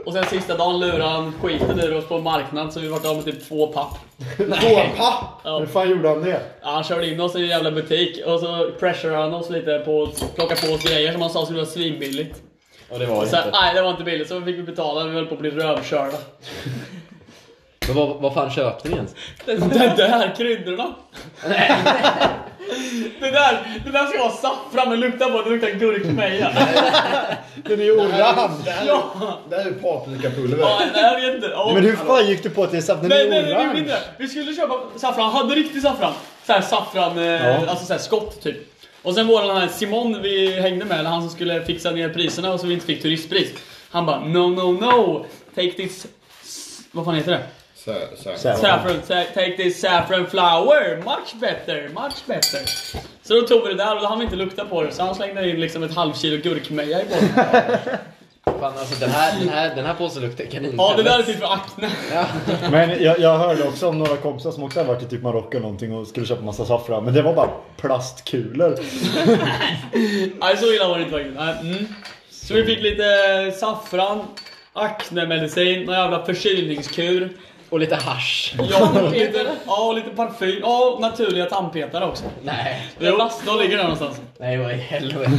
Speaker 3: Och sen sista dagen lurade han skiten ur oss på en marknad så vi vart av med typ två papp.
Speaker 4: Hur fan gjorde han det?
Speaker 3: Ja, han körde in oss i en jävla butik och så pressurade han oss lite på att plocka på oss grejer som han sa skulle vara svinbilligt.
Speaker 1: Och det var
Speaker 3: Och sen, nej det var inte billigt så fick vi betala, vi höll på att bli rövkörda.
Speaker 1: Men vad, vad fan köpte ni ens?
Speaker 3: Det där kryddorna! <laughs> Det där, det där ska vara saffran men lukta på, det luktar gurkmeja.
Speaker 4: Den är ju orange!
Speaker 2: Det här,
Speaker 3: Ja.
Speaker 2: det här är paprikapulver.
Speaker 3: Ja, nej, jag vet inte. Ja.
Speaker 4: Men hur fan gick du på att det är saft? Den är
Speaker 3: Nej,
Speaker 4: ju
Speaker 3: nej, nej, vi gjorde inte
Speaker 4: orange!
Speaker 3: det. Vi skulle köpa saffran, han hade riktig saffran. Så här saffran, eh,
Speaker 4: Ja.
Speaker 3: alltså så här skott typ. Och sen var det den här Simon vi hängde med, eller han som skulle fixa ner priserna och så vi inte fick turistpris. Han bara no, no, no, take this... s- Vad fan heter det?
Speaker 2: Så, så.
Speaker 4: Så här.
Speaker 3: Saffron, sa- take this saffron flower, much better, much better. Så då tog vi det där och då hann vi inte lukta på det så han slängde in liksom ett halvkilo gurkmeja i bollen.
Speaker 1: Fan alltså den här, den här, den här påsen luktar kanin.
Speaker 3: Ja, det där är typ <laughs> för akne.
Speaker 1: Ja.
Speaker 4: Men jag, jag hörde också om några kompisar som också hade varit i typ Marocko eller någonting och skulle köpa massa saffran. Men det var bara plastkulor.
Speaker 3: Nej, så illa var det inte faktiskt. Nej, Mm. Så vi fick lite saffran, aknemedicin, någon jävla förkylningskur.
Speaker 1: Och lite hasch.
Speaker 3: Ja, och lite, ja, och lite parfym. Ja, och naturliga tandpetare också.
Speaker 1: Nej,
Speaker 3: Jo, de ligger där någonstans.
Speaker 1: nej vad i helvete.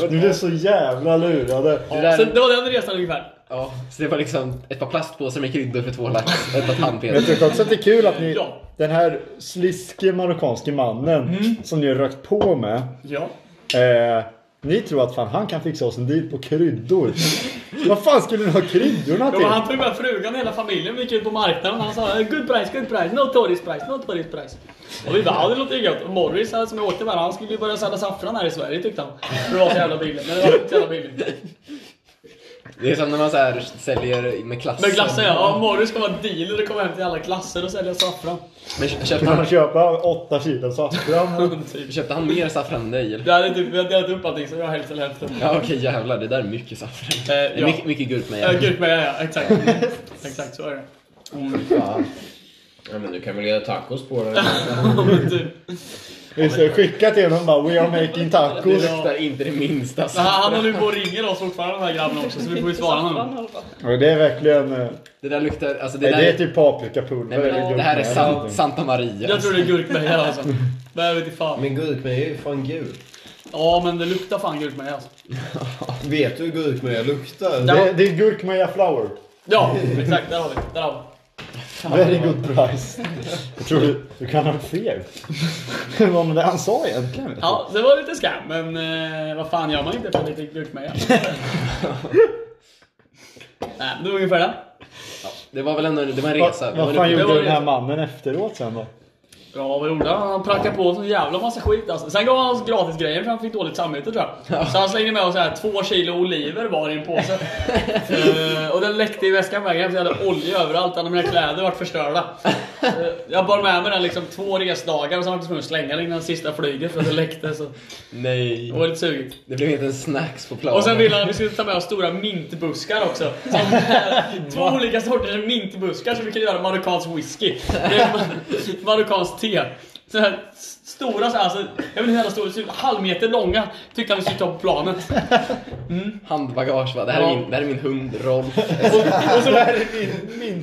Speaker 4: Du blev så jävla lurade.
Speaker 1: Det där-
Speaker 3: Så det var den resan ungefär.
Speaker 1: Ja, så det var liksom ett par plastpåsar med kryddor för två lax, ett par
Speaker 4: Jag
Speaker 1: tandpetare.
Speaker 4: tycker också att det är kul att ni,
Speaker 3: Ja. Mm.
Speaker 4: den här sliske marockanske mannen som ni har rökt på med.
Speaker 3: Ja.
Speaker 4: Eh, ni tror att fan han kan fixa oss en deal på kryddor. Vad fan skulle ni ha kryddorna
Speaker 3: Jo,
Speaker 4: till?
Speaker 3: men han tog med frugan och hela familjen. Vi gick ut på marknaden och han sa "Eh, good price, good price, no tourist price, no tourist price. Och vi bara, ja det låter ju gött. Och Morris här, som jag åkte med, han skulle ju börja sälja saffran här i Sverige tyckte han. För det var så jävla billigt. Men det var inte så jävla billigt.
Speaker 1: Det är som när man så här säljer med klass.
Speaker 3: Men glassen ja, ja Morris ska vara dealer och komma hem till alla klasser och sälja saffran.
Speaker 1: Men kö- köpte
Speaker 4: Kan man
Speaker 1: han,
Speaker 4: köpa åtta kilo saffran?
Speaker 3: typ.
Speaker 1: köpte han mer saffran än dig eller?
Speaker 3: Det hade typ, vi hade delat upp allting så jag har hälften hälften.
Speaker 1: Ja okej jävlar, det där är mycket saffran.
Speaker 3: Eh,
Speaker 1: Det är
Speaker 3: ja.
Speaker 1: Mycket, mycket gurkmeja.
Speaker 3: Äh, gurkmeja ja, exakt. exakt så är <laughs> det.
Speaker 2: Ja, men du kan väl göra tacos på den.
Speaker 3: Ja, men typ.
Speaker 4: Vi ska skicka till honom bara We are making
Speaker 1: Det
Speaker 4: tacos.
Speaker 1: luktar inte det minsta
Speaker 3: Så han, han
Speaker 1: saffran.
Speaker 3: håller ju på och ringer oss fortfarande den här grabben också så vi får ju svara honom.
Speaker 4: Och det är verkligen... eh,
Speaker 1: Det där luktar, alltså det
Speaker 4: Nej, det är
Speaker 1: där
Speaker 4: typ paprikapulver
Speaker 1: Nej, men
Speaker 4: eller
Speaker 1: det, det här är
Speaker 4: gurkmeja eller
Speaker 1: San,
Speaker 4: någonting.
Speaker 1: Santa Maria.
Speaker 3: Jag tror det är gurkmeja alltså. Men jag vet inte fan.
Speaker 2: Men gurkmeja är ju fan gul.
Speaker 3: Ja men det luktar fan gurkmeja alltså.
Speaker 2: Vet du hur gurkmeja luktar?
Speaker 3: Ja.
Speaker 4: Det, det är gurkmeja flour.
Speaker 3: Ja exakt, där har vi det. Där har vi. det.
Speaker 4: Very good price. Jag tror du, du kan ha <laughs> fel. Vad var det han sa egentligen?
Speaker 3: Ja det var lite skam men eh, vad fan gör man inte för lite <laughs> gurkmeja? Nej men det var ungefär det.
Speaker 1: Det var väl ändå det var en
Speaker 4: Vad,
Speaker 1: resa. alltså, Det var
Speaker 4: vad
Speaker 1: en
Speaker 4: fan
Speaker 1: upplevelse.
Speaker 4: gjorde den här mannen efteråt sen då?
Speaker 3: Ja, vad gjorde han? Han prackade på oss en jävla massa skit alltså. Sen gav han oss gratisgrejer för han fick dåligt samvete tror jag. Så han slängde med oss så här, två kilo oliver var i en påse. Eh, och den läckte i väskan vägen för jag hade olja överallt. Alla mina kläder vart förstörda. Eh, jag bar med mig den liksom två resdagar och sen var jag tvungen att slänga den innan sista flyget för att det läckte. Så
Speaker 1: Nej.
Speaker 3: det var lite sugigt.
Speaker 1: Det blev inte en snacks på planen.
Speaker 3: Och sen ville han att vi skulle ta med oss stora mintbuskar också. Som, två olika sorters mintbuskar som vi kan göra marockansk whisky. Det är ma- marockanskt te. Så här s- stora, så här, alltså, jag vet inte hur stora, typ halvmeter långa tyckte han vi skulle ta på planet.
Speaker 1: Handbagage va? Det här,
Speaker 3: Ja.
Speaker 1: är min, det här är min hund Rolf.
Speaker 3: Och, och, så,
Speaker 4: Min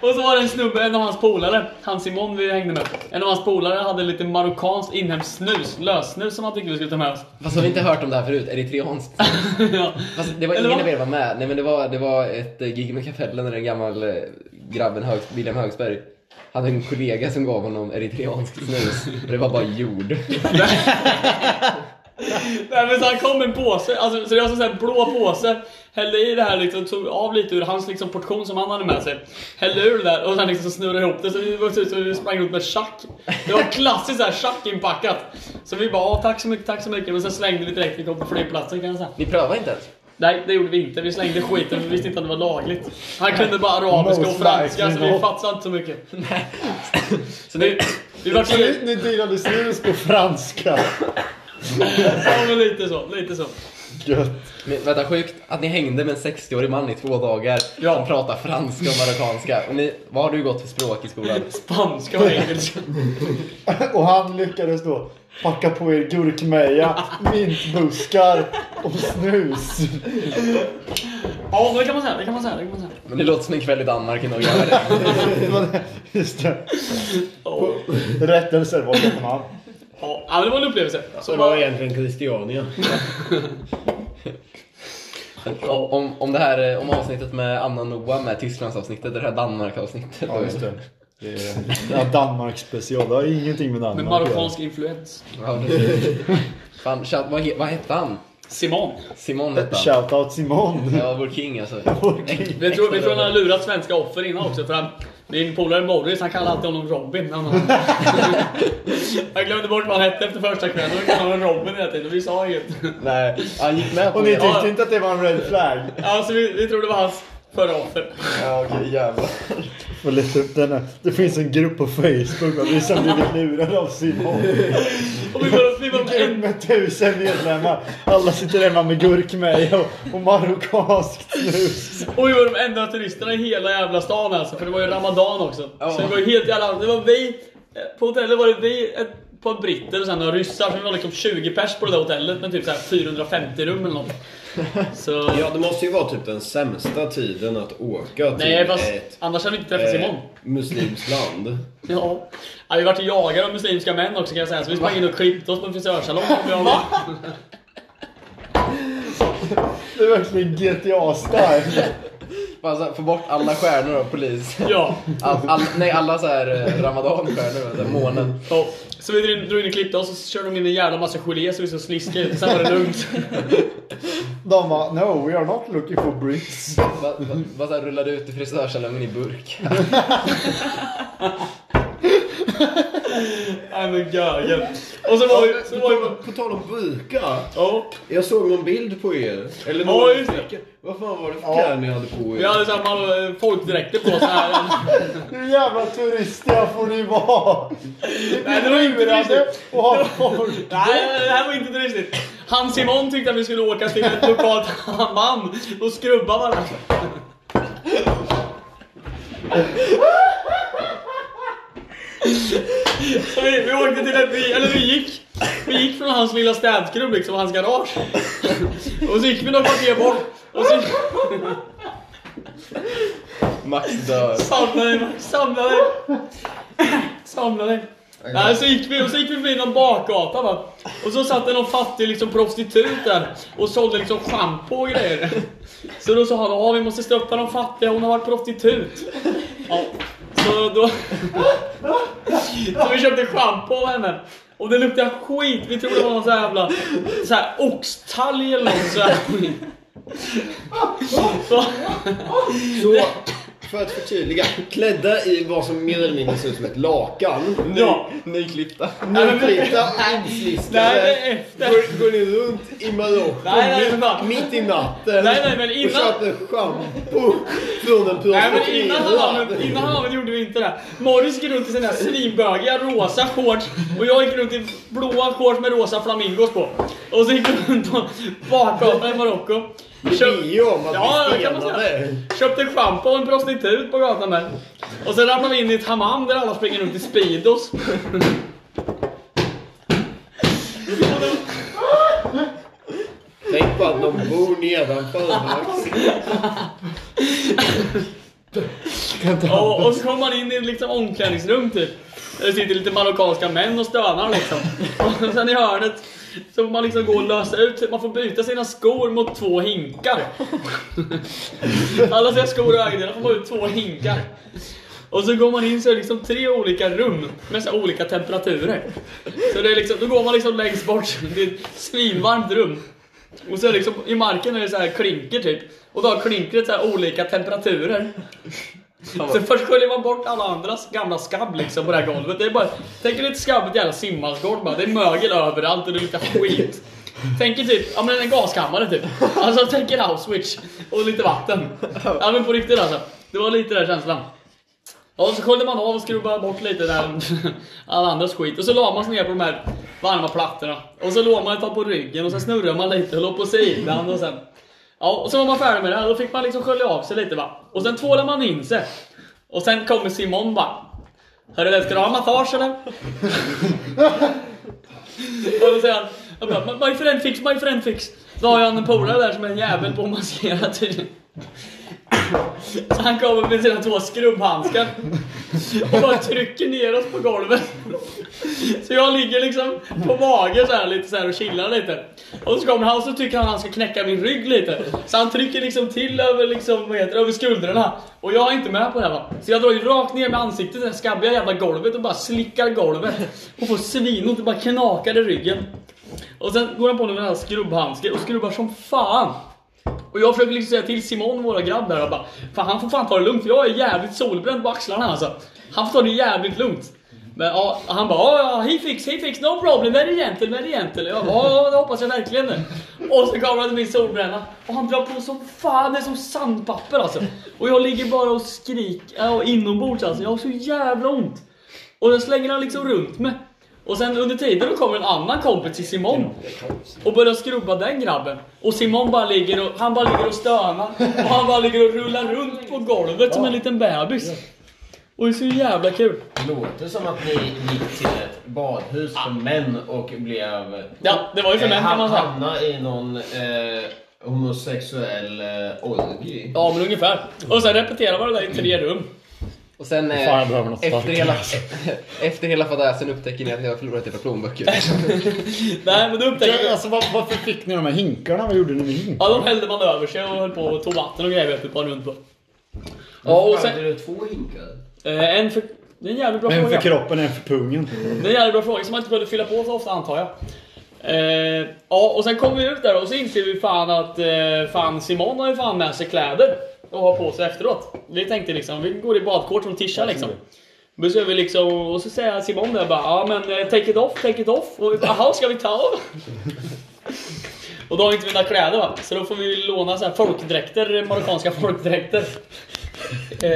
Speaker 3: och så var det en snubbe, en av hans polare, han Simon vi hängde med. En av hans polare hade lite marockanskt inhemskt snus, lössnus som han tyckte vi skulle ta med oss.
Speaker 1: Fast har vi inte hört om det här förut? Eritreanskt.
Speaker 3: <laughs> ja.
Speaker 1: Fast det var
Speaker 3: Eller
Speaker 1: ingen
Speaker 3: vad?
Speaker 1: av er var med. Nej men det var, det var ett eh, gig med Kapellen när en gammal eh, grabben Hög, William Högsberg hade en kollega som gav honom eritreansk snus. Och det var bara jord.
Speaker 3: Nej men så han kom med en påse, alltså, så det var en sån här blå påse Hällde i det här liksom, tog av lite ur hans liksom, portion som han hade med sig Hällde ur det där och sen liksom snurrade ihop det så vi var ut så vi sprang runt med schack Det var klassiskt såhär schack inpackat Så vi bara "Ja, tack så mycket, tack så mycket men sen slängde vi direkt när vi kom på flygplatsen kan jag säga
Speaker 1: Ni prövade inte ens?
Speaker 3: Nej det gjorde vi inte, vi slängde skiten för vi visste inte att det var lagligt Han kunde bara arabiska
Speaker 4: No
Speaker 3: och franska
Speaker 4: flags,
Speaker 3: så vi
Speaker 4: no.
Speaker 3: fattade inte så mycket
Speaker 1: Så nu,
Speaker 3: Vi var så
Speaker 4: Ni, ni delade snus på franska.
Speaker 3: ja, men lite så, lite så
Speaker 4: Gött. <laughs>
Speaker 1: men, vänta sjukt att ni hängde med en 60-årig man i två dagar
Speaker 3: Ja.
Speaker 1: som pratar franska och marockanska. Och ni, vad har du gått för språk i skolan?
Speaker 3: Spanska och engelska
Speaker 4: Och han lyckades då packa på er gurkmeja, mintbuskar och snus.
Speaker 3: Ja men det kan man säga, det kan man säga, det kan man säga
Speaker 1: Men det låter som en kväll i Danmark i några år.
Speaker 4: Det var det- Just det.
Speaker 3: Ja.
Speaker 4: Rättelse var Köpenhamn.
Speaker 3: Ja, ja, men det var en upplevelse. Så
Speaker 2: Det var egentligen Christiania.
Speaker 1: Om, om det här eh, om avsnittet med Anna och Noah med Tysklandsavsnittet, det här Danmark-avsnittet.
Speaker 4: Ja, just det. Det är- det är Danmark special. Det har ingenting med Danmark
Speaker 3: med
Speaker 4: att göra.
Speaker 3: marockansk influens.
Speaker 1: Ja, precis. Fan, tja, vad, he- vad hette han?
Speaker 3: Simon.
Speaker 1: Simon hette han.
Speaker 4: Shoutout Simon.
Speaker 1: Ja, vår king alltså.
Speaker 4: Vår king.
Speaker 1: Äk-
Speaker 3: Vi tror, vi
Speaker 1: äkta
Speaker 3: tror han har
Speaker 1: rövare.
Speaker 3: lurat svenska offer innan också. För han, min polare Morris, han kallar alltid honom Robin. Han <laughs> har... jag glömde bort vad han hette efter första kvällen. Då kallade han honom Robin hela tiden och vi sa inget.
Speaker 4: Nej.
Speaker 1: Han gick med på
Speaker 4: Och ni
Speaker 1: det.
Speaker 4: tyckte inte att det var en red flag?
Speaker 3: Alltså vi, vi trodde det var hans Förra året.
Speaker 4: Ja, okej jävlar. Får leta upp den här. Det finns en grupp på Facebook där vi som blivit lurade av Simon.
Speaker 3: Och vi var, vi var
Speaker 4: Grupp med tusen medlemmar. Alla sitter hemma med gurkmeja och, och marockanskt snus.
Speaker 3: Och vi var de enda turisterna i hela jävla stan alltså, för det var ju Ramadan också. Så det var ju helt jävla... Det var vi, eh, på hotellet var det vi, ett par britter och sen några ryssar. Så vi var liksom 20 pers på det där hotellet med typ så här 450 rum eller något. Så...
Speaker 2: Ja, det måste ju vara typ den sämsta tiden att åka till
Speaker 3: Nej fast
Speaker 2: typ ett
Speaker 3: annars hade vi inte träffats
Speaker 2: eh,
Speaker 3: imorgon.
Speaker 2: muslimskt land.
Speaker 3: Ja. ja, vi vart ju jagade av muslimska män också kan jag säga. Så vi sprang in och klippte oss på en frisörsalong. Vi var-
Speaker 4: Det är verkligen GTA-style.
Speaker 1: Bara så här, få bort alla stjärnor av polis.
Speaker 3: Ja.
Speaker 1: All, all, nej, alla så här eh, ramadanstjärnor, så här månen.
Speaker 3: ja. Så vi drog in- drog in och klippte oss och så körde de in en jävla massa gelé så vi såg sliskiga ut. Sen var det lugnt.
Speaker 4: De bara, no we are not looking for bricks.
Speaker 1: Bara, bara så här, rullade ut i frisörsalongen i burk.
Speaker 3: Nej men gögen. Och så var vi... Så var vi
Speaker 2: på, på tal om burka.
Speaker 3: ja.
Speaker 2: Jag såg någon bild på er. Eller någon
Speaker 3: Ja, just det.
Speaker 2: stycke. Vad fan var det för kläder ni hade på er?
Speaker 3: Vi hade samma eh, folkdräkter på oss här.
Speaker 4: Hur jävla turistiga får ni vara?
Speaker 3: <laughs> Nej, det var inte
Speaker 4: Lurade
Speaker 3: turistigt.
Speaker 4: och ha folk.
Speaker 3: Nej, det här var inte turistigt. Han Simon tyckte att vi skulle åka till ett lokalt hammam och skrubba varandra. Så vi, vi åkte till ett, vi, eller vi gick, vi gick från hans lilla städskrubb liksom, hans garage. Och så gick vi några kvarter bort och så
Speaker 1: Max dör.
Speaker 3: Samla dig, Max, samla dig! Samla dig! Nej, så gick vi, och så gick vi förbi någon bakgata va. Och så satt det någon fattig liksom, prostitut där och sålde liksom schampo och grejer. Så då sa han att vi måste stötta de fattiga, hon har varit prostitut. Ja, så då... Så vi köpte schampo av henne. Och det luktade skit, vi trodde det var någon så här jävla så här, oxtalg eller något så här. Så,
Speaker 2: Så, för att förtydliga. Klädda i vad som mer eller mindre ser ut som ett lakan.
Speaker 3: ja.
Speaker 1: Nyklippta.
Speaker 3: Nej, men-
Speaker 2: Nyklippta,
Speaker 3: Nej,
Speaker 2: insliskade.
Speaker 3: men efter.
Speaker 2: Går, går ni runt i Marocko
Speaker 3: Nej, nej, för
Speaker 2: mitt,
Speaker 3: fan.
Speaker 2: mitt i natten
Speaker 3: Nej, nej, men innan-
Speaker 2: och köper schampo från en
Speaker 3: Nej men innan
Speaker 2: prostituerad?
Speaker 3: havet, innan havet gjorde vi inte det. Morris gick runt i sina svinbögiga rosa shorts och jag gick runt i blåa shorts med rosa flamingos på. Och så gick vi runt på bakgatan i Marocko. Köp-
Speaker 2: Det är om att
Speaker 3: Ja,
Speaker 2: vi
Speaker 3: det kan man säga.
Speaker 2: stelade.
Speaker 3: Köpte schampo och en prostitut på gatan där. Och sen ramlade vi in i ett hammam där alla springer runt i Speedos.
Speaker 2: Tänk på att de bor nedanför Max.
Speaker 3: Ja, och så kommer man in i ett liksom omklädningsrum typ. Där det sitter lite marockanska män och stönar liksom. <laughs> Och sen i hörnet så får man liksom gå och lösa ut, man får byta sina skor mot två hinkar. Alla sina skor och ägodelar får man ut två hinkar. Och så går man in så är det liksom tre olika rum med så här olika temperaturer. Så det är liksom, då går man liksom längst bort, det är ett svinvarmt rum. Och så är det liksom, i marken är det så här klinker typ. Och då har klinkret så här olika temperaturer. Så först sköljer man bort alla andras gamla skabb liksom på det här golvet. Det är bara, tänk er ett skabbigt jävla simhallsgolv bara. Det är mögel överallt och det luktar skit. Tänk er typ, ja men en gaskammare typ. Alltså tänk er Auschwitz och lite vatten. Ja men på riktigt alltså. Det var lite den känslan. Ja, och så sköljde man av och skrubbade bort lite där all andras skit. Och så la man sig ner på de här varma plattorna. Och så låg man ett tag på ryggen och sen snurrade man lite och låg på sidan och sen... Ja, och så var man färdig med det här. Då fick man liksom skölja av sig lite va. Och sen tvålade man in sig. Och sen kommer Simon bara. Hörru ska du ha massage eller? och då säger han. Jag bara, my friend fix, my friend fix. Då har jag en polare där som är en jävel på att massera tydligen. Så han kommer med sina två skrubbhandskar <laughs> och bara trycker ner oss på golvet. Så jag ligger liksom på mage så här lite så här och chillar lite. Och så kommer han och så tycker han att han ska knäcka min rygg lite. Så han trycker liksom till över, liksom, vad heter, det, över skuldrarna. Och jag är inte med på det här va. Så jag drar ju rakt ner med ansiktet i det här skabbiga jävla golvet och bara slickar golvet. Och får svinont, det bara knakar i ryggen. Och sen går han på med den här skrubbhandsken och skrubbar som fan. Och jag försöker liksom säga till Simon, våra grabb där, och bara Fan han får fan ta det lugnt, för jag är jävligt solbränd på axlarna alltså. Han får ta det jävligt lugnt. Men ja, han bara "Ja, ja, he fix, he fix, no problem, very gentle, very gentle. Jag bara, ja, det hoppas jag verkligen. Och så kommer han till min solbränna och han drar på som fan, det är som sandpapper alltså. Och jag ligger bara och skriker, ja, och inombords alltså, jag har så jävla ont. Och den slänger han liksom runt mig. Och sen under tiden då kommer en annan kompis till Simon och börjar skrubba den grabben. Och Simon bara ligger och, han bara ligger och stönar och han bara ligger och rullar runt på golvet som en liten bebis. Och det är så jävla kul.
Speaker 9: Låter som att ni gick till ett badhus för män och blev...
Speaker 3: Ja, det var ju för män, kan man säga.
Speaker 9: Hamna i någon eh, homosexuell eh, orgie.
Speaker 3: Ja men ungefär. Och sen repeterar man det där i tre rum.
Speaker 1: Och sen eh,
Speaker 4: Fan, jag behöver något
Speaker 1: efter,
Speaker 4: starkt.
Speaker 1: hela, <laughs> efter hela fadäsen upptäcker ni att ni har förlorat era plånböcker.
Speaker 3: Nej men då upptäcker
Speaker 4: Ja,
Speaker 3: jag...
Speaker 4: Alltså, var, varför fick ni de här hinkarna? Vad gjorde ni med hinkarna?
Speaker 3: Ja de hällde man över sig och höll på och tog vatten och grejer vet du, bara runt på. Ja
Speaker 9: Varför
Speaker 3: och
Speaker 9: hade
Speaker 3: sen...
Speaker 9: du två hinkar?
Speaker 3: Eh, en för... Det är en jävligt bra
Speaker 4: En för
Speaker 3: fråga.
Speaker 4: kroppen, en för pungen.
Speaker 3: Det är en jävligt bra fråga som man inte behövde fylla på så ofta antar jag. Eh, ja och sen kommer vi ut där och så inser vi fan att eh, fan Simon har ju fan med sig kläder och har på sig efteråt. Vi tänkte liksom, vi går i badkort som tisha liksom. Men så är vi liksom, och så säger Simon där bara ja men eh, take it off, take it off. Och vi bara "Jaha, ska vi ta av? Och då har vi inte mina kläder va? Så då får vi låna så här folkdräkter, marockanska folkdräkter. Eh,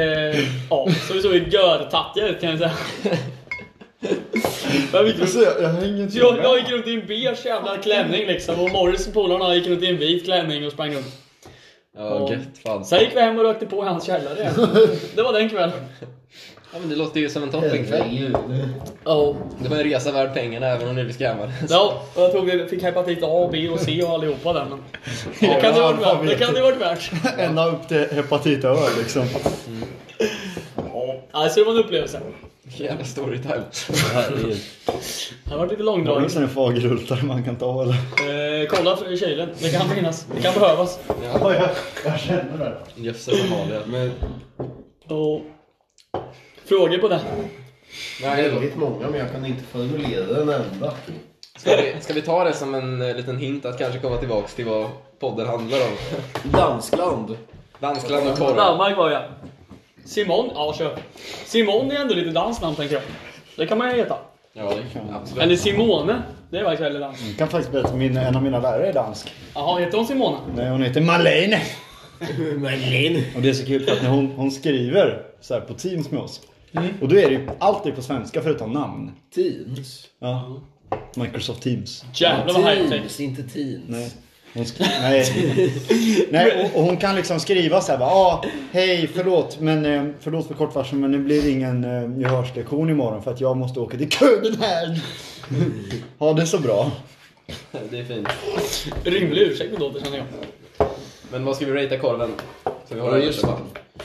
Speaker 3: ja, så vi såg ju görtattiga ut kan jag säga. Men vi gick runt-
Speaker 4: Alltså, jag, jag hänger inte
Speaker 3: så jag, jag
Speaker 4: med.
Speaker 3: gick runt i en beige jävla klänning liksom och Morris och polarna gick runt i en vit klänning och sprang runt.
Speaker 1: Ja, gött fan.
Speaker 3: Sen gick vi hem och rökte på i hans källare. igen. Det var den kvällen.
Speaker 1: Ja, men det låter ju som en toppenkväll.
Speaker 3: Ja.
Speaker 1: Det var en resa värd pengarna även om ni blir scammade. <laughs>
Speaker 3: Ja, och jag tror vi fick hepatit A, B och C och allihopa där men... Det kan det
Speaker 4: Ja,
Speaker 3: varit värt. Det
Speaker 4: alfabetet.
Speaker 3: kan det varit värt.
Speaker 4: Ända upp till hepatit Ö liksom.
Speaker 3: Ja, så det var en upplevelse.
Speaker 1: Jävla storytime.
Speaker 3: Det har varit
Speaker 4: Det
Speaker 3: lite
Speaker 4: är
Speaker 3: långdraget.
Speaker 4: liksom en fagerhultare man kan ta eller?
Speaker 3: Eh, kolla för- i kylen. Det kan finnas. Det kan behövas.
Speaker 4: Ja, jag, jag känner det.
Speaker 1: Jösses Amalia.
Speaker 2: Men
Speaker 3: Och... Frågor på det?
Speaker 2: väldigt många, men jag kan inte formulera en enda.
Speaker 1: Ska vi, ska vi ta det som en eh, liten hint att kanske komma tillbaks till vad podden handlar om?
Speaker 9: Danskland.
Speaker 1: Danskland och korv.
Speaker 3: Danmark var jag. Simon, ja kör. Simon är ändå lite dansnamn tänker jag. Det kan man ju heta.
Speaker 1: Ja, det kan absolut.
Speaker 3: Eller Simone. Det är faktiskt väldigt danskt.
Speaker 1: Mm.
Speaker 4: Jag kan faktiskt berätta att min, en av mina lärare är dansk.
Speaker 3: Jaha, heter hon Simone?
Speaker 4: Nej, hon heter Malene. Malene. Och det är så kul för att när hon, hon skriver så här på Teams med oss. Och då är det ju alltid på svenska förutom namn.
Speaker 9: Teens.
Speaker 4: Ja. Microsoft Mm. Teams.
Speaker 3: Jävlar vad high tech.
Speaker 9: Teens, inte teens.
Speaker 4: Nej. Hon skri- nej. nej och, och hon kan liksom skriva så här bara, ah, hej förlåt men eh, förlåt för kort varsel men det blir ingen eh, gehörslektion imorgon för att jag måste åka till Köpenhamn. Mm. ja det är så bra.
Speaker 1: Det är fint.
Speaker 3: Rimlig ursäkt ändå, det känner jag.
Speaker 1: Men vad ska vi ratea korven? Så vi har
Speaker 9: Ja,
Speaker 1: en
Speaker 9: just
Speaker 1: ursäkt.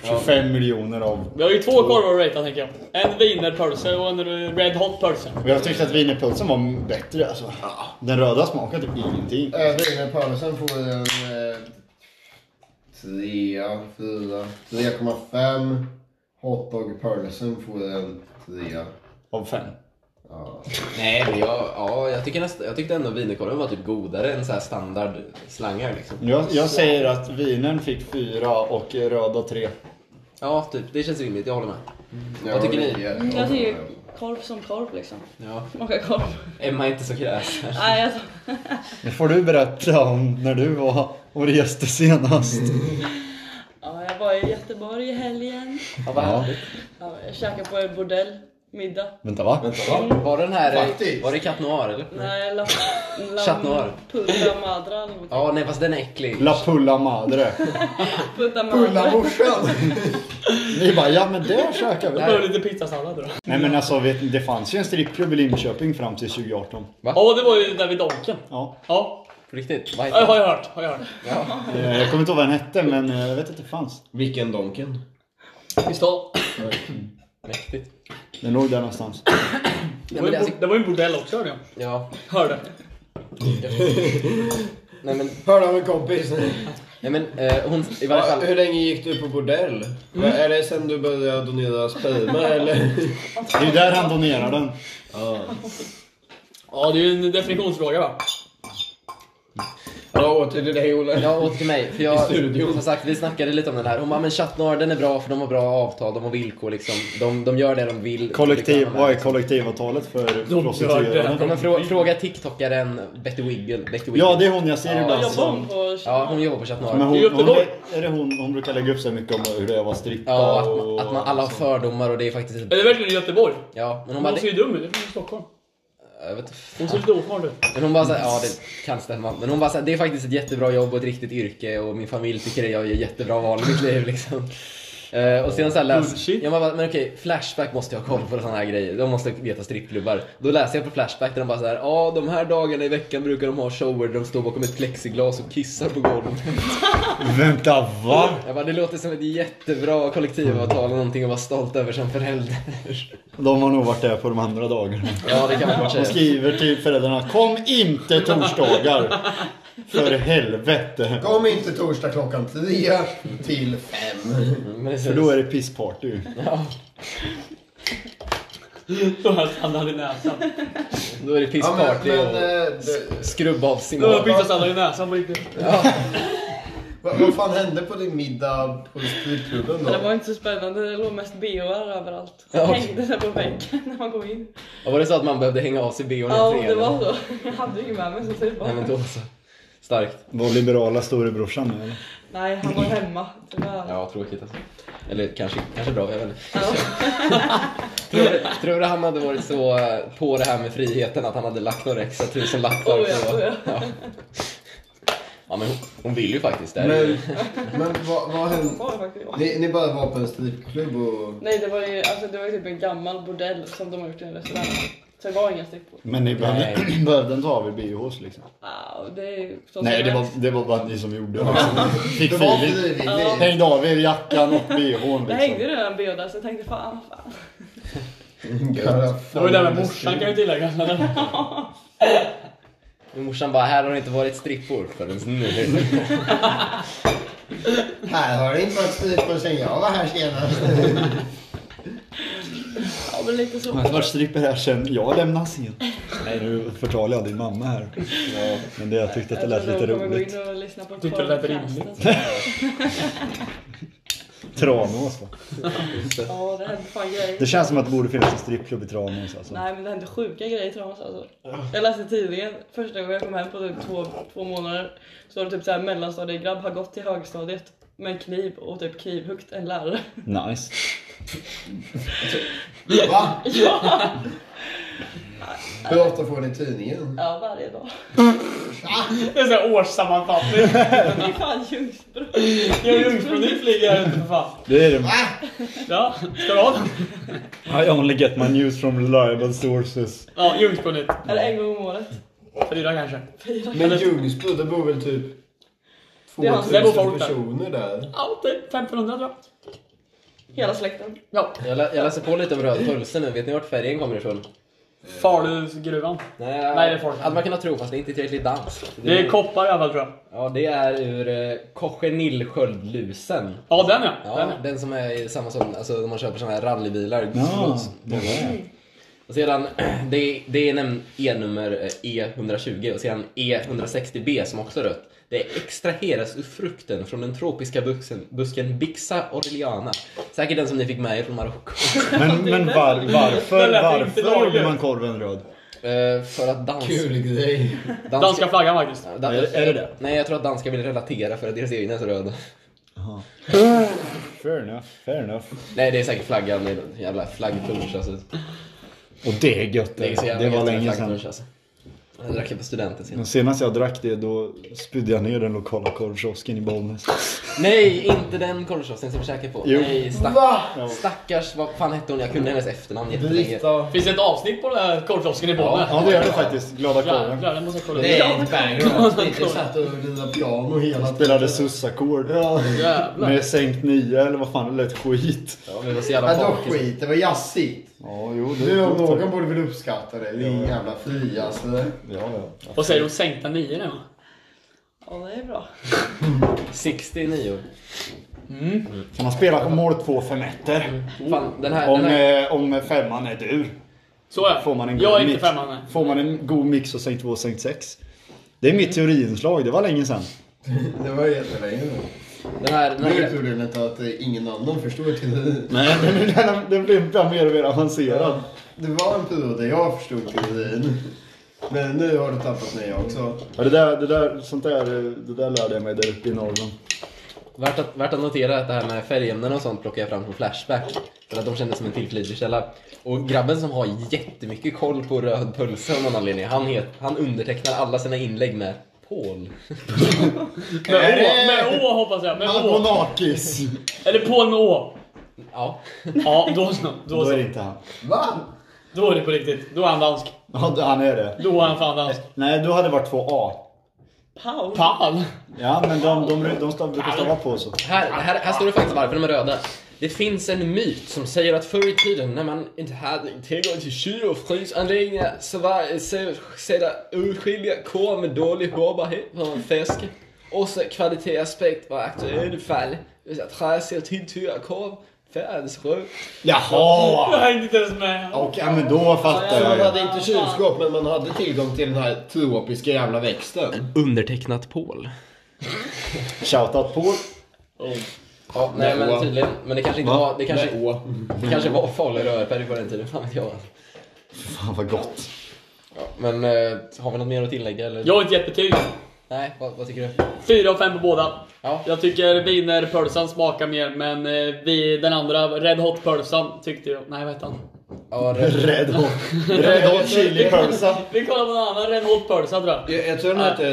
Speaker 4: 25 miljoner av.
Speaker 3: Vi har ju två korvar att ratea tänker jag. En wienerpölse och en red hot pölse.
Speaker 4: Och jag tyckte att wienerpölsen var bättre alltså. Den röda smakar typ ingenting.
Speaker 2: Äh, Wienerpölsen får en... Eh, 3, 4, 3,5. Hotdog-pölsen får en 3.
Speaker 4: Av fem.
Speaker 2: Ja.
Speaker 1: Nej, men jag, ja, jag, tycker nästa, jag tyckte ändå wienerkorven var typ godare än så här standard slangar liksom.
Speaker 4: Jag, jag säger att vinen fick fyra och röda tre.
Speaker 1: Ja, typ. Det känns rimligt. Jag håller med.
Speaker 2: Jag
Speaker 1: Vad tycker ni?
Speaker 2: ligger-
Speaker 5: Mm, Jag tycker ju korv som korv liksom.
Speaker 1: Ja.
Speaker 5: Smakar korv.
Speaker 1: Emma är inte så kräs.
Speaker 5: Nej, alltså.
Speaker 4: Nu får du berätta om när du var och reste senast.
Speaker 5: Ja, jag var i Göteborg i helgen.
Speaker 1: <laughs> Ja, vad härligt.
Speaker 5: Ja, jag käkade på en bordell. Middag.
Speaker 4: Vänta va?
Speaker 1: Var den här... eh,
Speaker 2: Faktiskt.
Speaker 1: Var det Cat Noir eller?
Speaker 5: Nej, <laughs> la... la
Speaker 1: Chat noir.
Speaker 5: Puta madra eller någonting.
Speaker 1: Ja, nej fast den är äcklig.
Speaker 4: La pulla madre.
Speaker 5: Puta madra.
Speaker 4: morsan. Ni bara, ja men det käkar
Speaker 3: Jag
Speaker 4: vi.
Speaker 3: behöver lite pizzasallad då.
Speaker 4: Nej men alltså vet ni, det fanns ju en strippklubb i Linköping fram till 2018.
Speaker 3: Ja, det var ju där vid Donken.
Speaker 4: Ja.
Speaker 3: Ja,
Speaker 1: På riktigt. Vad heter
Speaker 3: Ja,
Speaker 1: den?
Speaker 3: har jag hört. Har jag hört.
Speaker 4: Eh, Jag kommer inte ihåg vad den hette men eh, jag vet att det fanns.
Speaker 9: Vilken donken?
Speaker 3: Visst då?
Speaker 1: Mäktigt.
Speaker 4: Den låg där någonstans.
Speaker 3: Det
Speaker 1: Nej,
Speaker 3: var
Speaker 1: men det,
Speaker 3: ju en bo-
Speaker 1: alltså,
Speaker 3: det var ju en bordell också hörde jag.
Speaker 1: ja.
Speaker 3: Hörde.
Speaker 1: Nej men,
Speaker 9: Hörde av en kompis.
Speaker 1: nej, men eh, hon, i varje
Speaker 9: Ja,
Speaker 1: fall.
Speaker 9: hur länge gick du på bordell? Vad- Är det sen du började donera sperma eller?
Speaker 4: Det är ju där han donerar den.
Speaker 3: Ja, det är ju en definitionsfråga va?
Speaker 2: Ja, åter till dig Olle.
Speaker 1: Ja, åter till mig. För
Speaker 2: I
Speaker 1: jag,
Speaker 2: studion.
Speaker 1: som sagt, vi snackade lite om den här. Hon bara, men Chatnorden är bra för de har bra avtal, de har villkor liksom. De, de gör det de vill.
Speaker 4: Kollektiv,
Speaker 1: Liksom.
Speaker 4: vad är kollektivavtalet för
Speaker 3: gör
Speaker 4: prostituerade?
Speaker 3: det.
Speaker 1: Ja, men frå, fråga TikTokaren Betty Wiggle. Betty Wiggle.
Speaker 4: Ja, det är hon jag ser
Speaker 1: Ja,
Speaker 4: ibland.
Speaker 5: Jobbar hon
Speaker 4: Som,
Speaker 5: på...
Speaker 1: Ja, hon jobbar på Chatnorden.
Speaker 4: men hon,
Speaker 3: I
Speaker 4: hon,
Speaker 3: Göteborg.
Speaker 4: är det hon, hon brukar lägga upp sig mycket om hur det är att strippa
Speaker 1: Ja, att
Speaker 4: och...
Speaker 1: man, att man alla har fördomar och det är faktiskt...
Speaker 3: Är det verkligen i Göteborg?
Speaker 1: Ja, men hon
Speaker 3: Hon,
Speaker 1: bara...
Speaker 3: ser ju
Speaker 1: Det,
Speaker 3: dum ut, det är från Stockholm.
Speaker 1: jag vet, inte.
Speaker 3: Hon ser lite osmart ut. <laughs>
Speaker 1: men hon bara såhär, ja det kan stämma. Men hon bara såhär, det är faktiskt ett jättebra jobb och ett riktigt yrke och min familj tycker att jag gör jättebra val
Speaker 4: <laughs>
Speaker 1: i mitt liv liksom. Eh, och sen såhär läs...
Speaker 3: Bullshit.
Speaker 1: Jag bara, men okej, Flashback måste jag ha koll på sådana här grejer. De måste veta strippklubbar. Då läser jag på Flashback där de bara såhär, ja de här dagarna i veckan brukar de ha shower där de står bakom ett plexiglas och kissar på golvet.
Speaker 4: Vänta, va?
Speaker 1: Jag bara, det låter som ett jättebra kollektivavtal och någonting att vara stolt över som förälder.
Speaker 4: De har nog varit där på de andra dagarna.
Speaker 1: Ja, det kan <laughs> man
Speaker 4: De
Speaker 1: säga.
Speaker 4: skriver till föräldrarna, kom inte torsdagar! För helvete!
Speaker 2: Kom inte torsdag klockan 10 till 5.
Speaker 1: Men det är så-
Speaker 4: För då är det pissparty.
Speaker 3: Så här sandal i näsan.
Speaker 1: Då är det
Speaker 2: Ja, men,
Speaker 1: pissparty
Speaker 2: men,
Speaker 1: och
Speaker 2: eh, det,
Speaker 1: skrubba av sin
Speaker 3: Nu har jag
Speaker 1: ja,
Speaker 3: pissat sandal i näsan på riktigt.
Speaker 2: vad, vad fan hände på din middag på stripklubben
Speaker 5: Det
Speaker 2: då?
Speaker 5: var inte så spännande, det låg mest bhar överallt.
Speaker 1: Ja, okej.
Speaker 5: Hängde där på väggen när man går in.
Speaker 1: Var det så att man behövde hänga av sig bhn i
Speaker 5: Ja,
Speaker 1: tre,
Speaker 5: det
Speaker 1: eller?
Speaker 5: var så. Jag hade ju inget med mig så det
Speaker 1: Nej men
Speaker 5: bara...
Speaker 1: då så. Starkt.
Speaker 4: Var liberala storebrorsan med eller?
Speaker 5: Nej, han var hemma. Tyvärr.
Speaker 1: Ja, tråkigt alltså. Eller kanske, kanske bra, jag vet inte. Tror du, tror du han hade varit så eh, på det här med friheten att han hade lagt några extra tusenlappar
Speaker 5: Oh, ja,
Speaker 1: på...
Speaker 5: oh, ja.
Speaker 1: ja. ja men hon, hon vill ju faktiskt det. här är
Speaker 2: Men,
Speaker 1: ju-
Speaker 2: men vad, vad hände?
Speaker 5: Var det faktiskt.
Speaker 2: Ni, ni bara var på en stripklubb och...
Speaker 5: Nej, det var ju alltså, det var ju typ en gammal bordell som de har gjort i en restaurang. Så det var inga strippor.
Speaker 4: Men ni behövde, <clears throat> behövde inte ha av er bhs liksom?
Speaker 5: Ah, det är ju förstås
Speaker 4: Nej, det var, det var bara ni som gjorde det. Liksom. Fick feeling.
Speaker 2: frivilligt.
Speaker 4: Hängde av er jackan och bhn
Speaker 5: Det hängde
Speaker 4: liksom.
Speaker 5: redan en bh där så jag tänkte fan, fan.
Speaker 3: Det var ju det med morsan kan jag tillägga.
Speaker 1: Min morsan bara, här har det inte varit strippor förrän nu.
Speaker 2: Här har det inte varit stripor sen jag var här senast.
Speaker 5: Ja, men lite så.
Speaker 4: Men vart stripper här sen jag lämnar scen? Nej, nu förtalar jag din mamma här. Men det, jag tyckte att det lät lite
Speaker 5: Jag tror de kommer
Speaker 4: roligt.
Speaker 5: gå in och lyssna på
Speaker 3: Tyckte det lät
Speaker 5: podcasten.
Speaker 4: Tranås va?
Speaker 5: Ja, det hände fan grejer.
Speaker 4: Det känns som att det borde finnas en strippklubb i Tranås alltså.
Speaker 5: Nej men det hände sjuka grejer i Tranås alltså. Jag läste tidningen första gången jag kom hem på typ två, två månader. Så var det typ såhär mellanstadiegrabb har gått till högstadiet med en kniv och typ knivhuggt en lärare. <laughs>
Speaker 4: Nice.
Speaker 2: Va?
Speaker 5: Ja,
Speaker 2: Hur ofta får ni tidningen?
Speaker 5: ja varje dag.
Speaker 3: Det är såhär årssammanfattning.
Speaker 5: Det är fan Ljungsbro.
Speaker 3: Jag är jungfrunytt ligger här ute för fan.
Speaker 4: Det är det.
Speaker 3: Ja, ska du ha den?
Speaker 4: I only get my news from reliable sources.
Speaker 3: Ja, jungfrunytt.
Speaker 5: Eller en gång om året.
Speaker 3: Fyra kanske.
Speaker 2: Men Ljungsbro, det bor väl typ
Speaker 5: Det är han-
Speaker 2: 2000
Speaker 3: det bor folk där.
Speaker 2: personer där?
Speaker 3: Ja, det är 1500 tror jag.
Speaker 5: Hela släkten.
Speaker 3: Ja.
Speaker 1: Jag, lä- jag läser på lite om Rödpulsen nu, vet ni vart färgen kommer ifrån?
Speaker 3: Falugruvan.
Speaker 1: Nej,
Speaker 3: Nej, det är folk.
Speaker 1: Hade man kunnat tro, fast det är inte tillräckligt dans.
Speaker 3: Det är koppar i alla fall tror jag.
Speaker 1: Ja, det är ur eh, Cochenillsköldlusen.
Speaker 3: Ja, den ja.
Speaker 1: Ja,
Speaker 3: Den ja.
Speaker 1: den som är i samma som, alltså när man köper såna här rallybilar.
Speaker 4: Ja,
Speaker 1: Slåss.
Speaker 4: Ah, det var det.
Speaker 1: Och sedan, <clears throat> det är, det är nämligen E-nummer eh, E120 och sedan E E160B som också är rött. Det extraheras ur frukten från den tropiska busken, busken Bixa orleana. Säkert den som ni fick med er från Marocko. <laughs>
Speaker 4: Men, men var, varför,
Speaker 3: Det lät inte
Speaker 4: varför gjorde
Speaker 3: lagligt.
Speaker 4: man korven röd?
Speaker 1: Eh, för att dans,
Speaker 2: Kul grej.
Speaker 1: danska...
Speaker 3: Danska flaggan faktiskt.
Speaker 1: Dan-
Speaker 4: Är det- är det det?
Speaker 1: Nej, jag tror att danskar vill relatera för att deras egna är så röda.
Speaker 4: Fair enough, fair enough.
Speaker 1: Nej, det är säkert flaggan. Det är en jävla flaggpunsch alltså.
Speaker 4: Och det är gött det.
Speaker 1: Det är så
Speaker 4: Det,
Speaker 1: jävla
Speaker 4: var
Speaker 1: gött med
Speaker 4: länge sedan.
Speaker 1: flaggpunsch, alltså. Jag drack det på studenten senast.
Speaker 4: Men senast jag drack det då spydde jag ner den lokala korvkiosken i Bollnäs.
Speaker 1: Nej, inte den korvkiosken som vi käkade på.
Speaker 4: Jo.
Speaker 1: Nej, stack,
Speaker 2: Va?
Speaker 1: stackars, vad fan hette hon? Jag kunde hennes efternamn jättelänge.
Speaker 2: Britta.
Speaker 3: Finns det ett avsnitt på den här korvkiosken i Bollnäs?
Speaker 4: Ja det gör det faktiskt. Glada korven.
Speaker 3: Jävlar, den måste jag kolla
Speaker 2: Det
Speaker 3: upp.
Speaker 2: är ett
Speaker 3: <laughs>
Speaker 2: banger. Jag satt och lirade piano hela
Speaker 4: Jag spelade sussackord.
Speaker 3: Jävlar.
Speaker 4: Med sänkt nia eller vad fan, det lät skit.
Speaker 1: Ja, men det var så
Speaker 2: Men
Speaker 1: jävla
Speaker 2: då
Speaker 1: bakis.
Speaker 2: skit, det var jazzigt.
Speaker 4: Ja, jo. Det
Speaker 2: Du
Speaker 4: är
Speaker 2: om
Speaker 4: gott,
Speaker 2: någon
Speaker 4: faktiskt.
Speaker 2: borde väl uppskatta det. Det är en jävla friaste.
Speaker 4: Ja, ja.
Speaker 3: Vad säger du om sänkta nior nu?
Speaker 5: Ja det är bra.
Speaker 1: 69.
Speaker 4: Kan man spela på mål två för meter?
Speaker 1: Fan, den här...
Speaker 4: Om,
Speaker 1: Den här
Speaker 4: eh, om femman är dur.
Speaker 3: Så ja.
Speaker 4: Får man en god
Speaker 3: Jag är
Speaker 4: mix.
Speaker 3: inte femman nej.
Speaker 4: Får man en god mix och sänkt två och sänkt sex. Det är mitt teoriinslag, det var länge sedan.
Speaker 2: Det var jättelänge nu.
Speaker 1: Den här, den
Speaker 2: Nu är
Speaker 1: här,
Speaker 2: problemet att eh, ingen annan förstår teorin.
Speaker 4: Nej, <laughs> den, den, den blir bara mer och mer avancerad.
Speaker 2: Det var en period där jag förstod teorin. Men nu har du tappat mig också.
Speaker 4: Ja, det där, det där, sånt där, eh, det där lärde jag mig där uppe i Norrland.
Speaker 1: värt, att, värt att notera att det här med färgämnen och sånt plockar jag fram på Flashback. För att de kändes som en tillförlitlig källa. Och grabben som har jättemycket koll på röd pölse av någon anledning, han, het, han undertecknar alla sina inlägg med Paul.
Speaker 3: Med Å, med Å hoppas jag. Med Å.
Speaker 4: Almanakis!
Speaker 3: Eller Paul med Å.
Speaker 1: Ja.
Speaker 3: Ja, då så. Då,
Speaker 4: Då är det
Speaker 3: så.
Speaker 4: inte han.
Speaker 3: då är det på riktigt. Då är han dansk.
Speaker 4: Ja, då- han är det.
Speaker 3: Då är han fan dansk.
Speaker 4: Nej, då hade det varit två A.
Speaker 5: Paul.
Speaker 3: Paul.
Speaker 4: Ja, men de, de, de, stav, brukar stava på så.
Speaker 1: Här, här, här står det faktiskt varför de är röda. Det finns en myt som säger att förr i tiden när man inte hade tillgång till kyl och frysanläggningar så var så, sedan urskilja kor med dålig hållbarhet för en fisk. Också kvalitetsaspekt var aktuell i fall. Träsiga tilltygare korv, färgens röd.
Speaker 4: Jaha!
Speaker 3: Jag hängde inte ens med.
Speaker 4: Och, ja, men då fattar
Speaker 9: Man
Speaker 4: jag ju.
Speaker 9: hade inte kylskåp men man hade tillgång till den här tropiska jävla växten.
Speaker 1: Undertecknat Paul.
Speaker 4: Shoutout på.
Speaker 1: Ja, nej men
Speaker 4: Noah.
Speaker 1: tydligen. Men det kanske inte
Speaker 4: Va?
Speaker 1: var, det kanske, det kanske var farlig rödfärg på den tiden, fan vet jag.
Speaker 4: Fan vad gott.
Speaker 1: Ja, men eh, har vi något mer att tillägga eller?
Speaker 3: Jag har ett jättebetyg.
Speaker 1: Nej, vad, vad tycker du?
Speaker 3: 4 av 5 på båda.
Speaker 1: Ja.
Speaker 3: Jag tycker wienerpölsan smakar mer men eh, vi, den andra, Red Hot pölsan tyckte jag. Nej vad hette han?
Speaker 1: Ja, det-
Speaker 4: Red Hot, Red hot Chili Pölsa.
Speaker 3: Vi kollar på någon annan Red Hot pölsa tror jag.
Speaker 9: Jag, jag tror den hette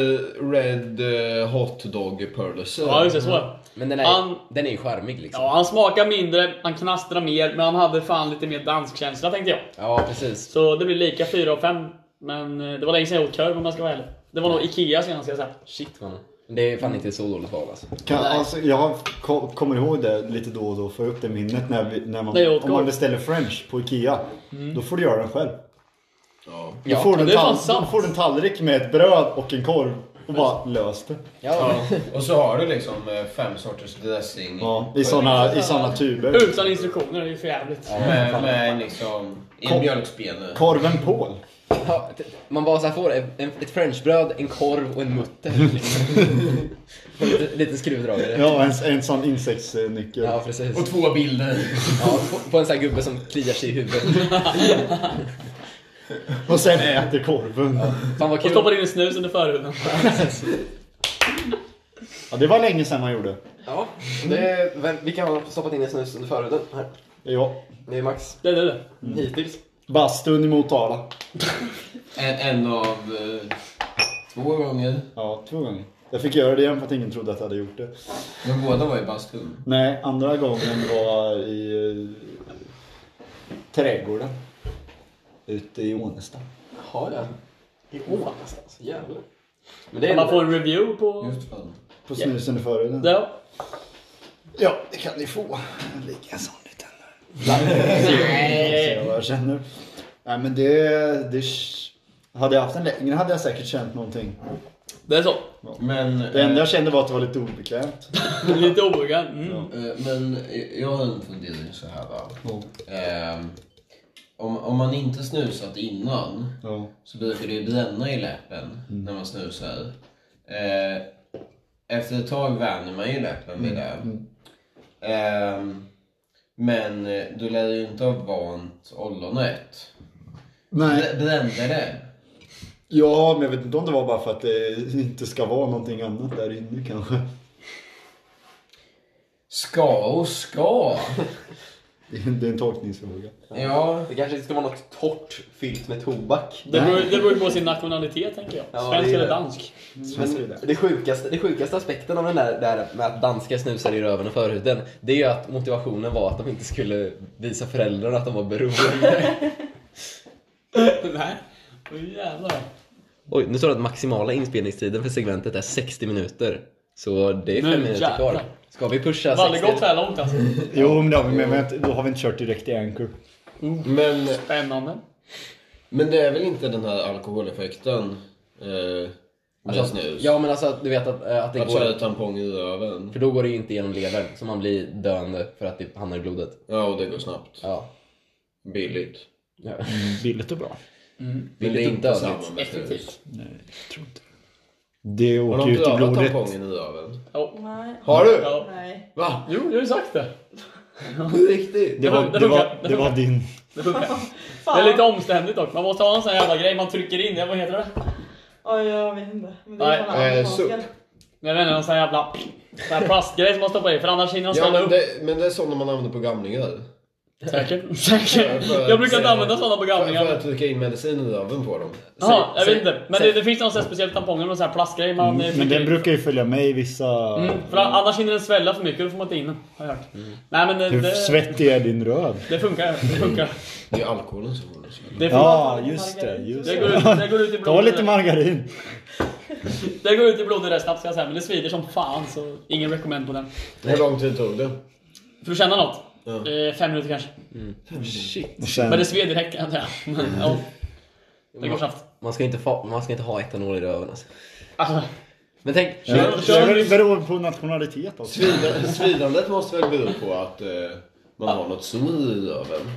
Speaker 9: Red eh, Hot Dog Purlse.
Speaker 3: Ja just det, så var det.
Speaker 1: Men den är,
Speaker 3: Han-
Speaker 1: den är ju charmig liksom.
Speaker 3: Ja, han smakar mindre, han knastrar mer, men han hade fan lite mer danskkänsla tänkte jag.
Speaker 1: Ja, precis.
Speaker 3: Så det blir lika 4 av 5. Men eh, det var länge sedan jag åt korv om jag ska vara ärlig. Det var nog Ikea senast jag sett.
Speaker 1: Shit man. Det är fan inte så dåligt val alltså.
Speaker 4: Kan, alltså, jag ko- kommer ihåg det lite då och då, får upp det minnet när, vi, när man,
Speaker 3: Nej, jag åt
Speaker 4: om man
Speaker 3: korv.
Speaker 4: beställer French på Ikea. Då får du göra den själv. Då,
Speaker 1: Ja,
Speaker 4: får du en
Speaker 3: det är fan
Speaker 4: tall- då
Speaker 3: sant.
Speaker 4: får du en tallrik med ett bröd och en korv och bara lös det.
Speaker 1: Ja.
Speaker 9: Och så har du liksom eh, fem sorters dressing.
Speaker 4: Ja, I såna, i såna tuber.
Speaker 3: Utan instruktioner, det är ju för jävligt.
Speaker 9: Med, med liksom i en mjölkspene.
Speaker 4: Korven Paul.
Speaker 1: Ja, t- Man bara så här får en, en- ett frenchbröd, en korv och en mutter. Och lite, lite skruvdragare. Ja.
Speaker 4: Ja, en, en sån insektsnyckel.
Speaker 1: precis.
Speaker 9: Och två bilder.
Speaker 1: Ja, på, på en sån här gubbe som kliar sig i huvudet.
Speaker 4: Och sen äter korven.
Speaker 1: Fan vad
Speaker 3: Och
Speaker 1: kul.
Speaker 3: stoppar in en snus under förhuden.
Speaker 4: Ja, det var länge sedan man gjorde.
Speaker 1: Ja, det, vem, vilka har stoppat in en snus under förhuden? Här,
Speaker 4: Ja.
Speaker 1: det är Max.
Speaker 3: Det är det, det.
Speaker 1: Hittills.
Speaker 4: Bastun i Motala.
Speaker 9: En, en av eh, två gånger.
Speaker 4: Ja, två gånger. Jag fick göra det igen för att ingen trodde att jag hade gjort det.
Speaker 9: Men båda var i bastun.
Speaker 4: Nej, andra gången var i eh, trädgården. Ute i Ånesta.
Speaker 1: Har jag? I år någonstans. Jävlar. Men det
Speaker 3: Kan
Speaker 1: är
Speaker 3: man
Speaker 1: ändå-
Speaker 3: få en review på...
Speaker 9: Just fan.
Speaker 4: På snusen i förhuden.
Speaker 3: Det, ja.
Speaker 4: Ja, det kan ni få. Ligga en sån liten. Nej. Alltså, Vad jag känner. Nej, men det... det hade jag haft en längre hade jag säkert känt någonting.
Speaker 3: det är så.
Speaker 9: Men, eh,
Speaker 4: Det enda jag kände var att det var lite obekvämt.
Speaker 3: <laughs> Lite obekväm. Mm.
Speaker 9: eh, men jag har en fundering så här va. Ehm, om, om man inte snusat innan
Speaker 4: Ja.
Speaker 9: så brukar det ju bränna i läppen när man snusar. Eh, efter ett tag vänjer man ju läppen vid det. Ehm, men eh, du lär ju inte ha vant ollonet.
Speaker 4: Nej.
Speaker 9: Br- Brände det?
Speaker 4: Ja, men jag vet inte om det var bara för att det inte ska vara någonting annat där inne kanske.
Speaker 9: Ska och ska.
Speaker 4: Det är det är en tolkningsfråga.
Speaker 9: Ja,
Speaker 1: Det kanske inte ska vara något torrt fyllt med tobak.
Speaker 3: Det beror, det beror på sin nationalitet tänker jag.
Speaker 1: Ja,
Speaker 3: Svensk
Speaker 1: det är
Speaker 3: eller
Speaker 1: det.
Speaker 3: dansk. <laughs>
Speaker 4: Känns det
Speaker 1: Men
Speaker 4: där?
Speaker 1: det, sjukaste, det sjukaste aspekten av den där, där med att danskar snusar i röven och förhuden, det är ju att motivationen var att de inte skulle visa föräldrarna att de var beroende.
Speaker 3: Nej. Åh jävlar.
Speaker 1: <laughs> Oj, nu står det att maximala inspelningstiden för segmentet är 60 minuter. Så det är
Speaker 3: Nu
Speaker 1: fem minuter kvar.
Speaker 3: jävlar.
Speaker 1: Ska vi pusha
Speaker 3: Valle
Speaker 1: 60?
Speaker 3: gått så här långt alltså.
Speaker 4: Jo, men det har vi med, men då har vi inte kört direkt i Anchor.
Speaker 9: men,
Speaker 3: Spännande.
Speaker 9: men det är väl inte den här alkoholeffekten eh, med
Speaker 1: Alltså,
Speaker 9: snus?
Speaker 1: ja, men alltså att du vet att, eh, att det
Speaker 9: Att köra
Speaker 1: går...
Speaker 9: tampong i röven.
Speaker 1: För då går det ju inte genom levern, så man blir döende för att det hamnar i blodet.
Speaker 9: Ja, och det går snabbt.
Speaker 1: Ja.
Speaker 9: Billigt.
Speaker 1: ja.
Speaker 4: Billigt och bra.
Speaker 9: Men
Speaker 1: Vill det
Speaker 9: det är
Speaker 1: inte
Speaker 9: inte
Speaker 1: dödligt.
Speaker 9: samma med snus.
Speaker 3: Effektivt.
Speaker 4: Nej, jag tror inte Det
Speaker 9: Har
Speaker 4: åker
Speaker 9: de
Speaker 4: ju ut i
Speaker 9: prövat
Speaker 4: blodet.
Speaker 9: tampongen i röven?
Speaker 5: Nej.
Speaker 2: Har du?
Speaker 3: Ja.
Speaker 5: Nej.
Speaker 2: Va?
Speaker 3: Jo, jag har ju sagt det.
Speaker 2: På riktigt?
Speaker 4: Det var,
Speaker 3: Det
Speaker 4: det
Speaker 3: funkar.
Speaker 4: var,
Speaker 3: Det
Speaker 4: det var din...
Speaker 3: Det funkar.
Speaker 5: Fan.
Speaker 3: Det är lite omständigt dock. Man måste ha en sån här jävla grej man trycker in. det. Vad heter det?
Speaker 5: Oj, jag vet inte. Men det
Speaker 3: Nej,
Speaker 5: är fan
Speaker 2: eh,
Speaker 5: amerikanska.
Speaker 3: Jag vet inte, någon sån här jävla sån här plastgrej som man stoppar i. För annars hinner de
Speaker 2: Ja,
Speaker 3: ställa
Speaker 2: men
Speaker 3: upp.
Speaker 2: det, men det är sådana man använder på gamlingar.
Speaker 3: Säkert. <laughs>
Speaker 2: För
Speaker 3: Säkert.
Speaker 2: att-
Speaker 3: Jag brukar inte använda såna på gamlingar.
Speaker 2: För, för att trycka in medicin i röven på dem.
Speaker 3: Ja, jag
Speaker 1: Säg-
Speaker 3: vet inte. Men det, det finns någon sån här speciell tamponger med sån här plastgrej man
Speaker 4: Mm,
Speaker 3: eh,
Speaker 4: Men
Speaker 3: trycker
Speaker 4: den
Speaker 3: in.
Speaker 4: brukar ju följa med i vissa...
Speaker 3: Mm, för annars hinner den svälla för mycket och då får man inte in den. Har jag hört. Nej men eh, det,
Speaker 4: Hur
Speaker 3: det,
Speaker 4: svettig är din röv?
Speaker 3: det funkar. Det funkar.
Speaker 2: Det är ju alkoholen som får det.
Speaker 3: Det,
Speaker 4: Ja, just det. Just
Speaker 3: det,
Speaker 4: det.
Speaker 3: går ut, det går ut i
Speaker 4: Ta
Speaker 3: blodet.
Speaker 4: lite margarin.
Speaker 3: det går ut i blodet rätt snabbt ska jag säga. Men det svider som fan så ingen recommend på den.
Speaker 2: Hur lång tid tog det?
Speaker 3: För att känna något.
Speaker 2: Ja.
Speaker 3: Eh, fem minuter kanske.
Speaker 4: Och
Speaker 3: Men
Speaker 4: sen,
Speaker 3: det sved direkt kan jag säga. <laughs> Men, ja, det går snabbt.
Speaker 1: Man ska inte, fa- man ska inte ha etanol i röven alltså.
Speaker 3: Alltså,
Speaker 1: Men tänk,
Speaker 3: kör,
Speaker 4: det
Speaker 3: kör,
Speaker 4: beror- beror på nationalitet också.
Speaker 2: Svida- Svidandet måste väl bero på att eh, man har något sår i röven?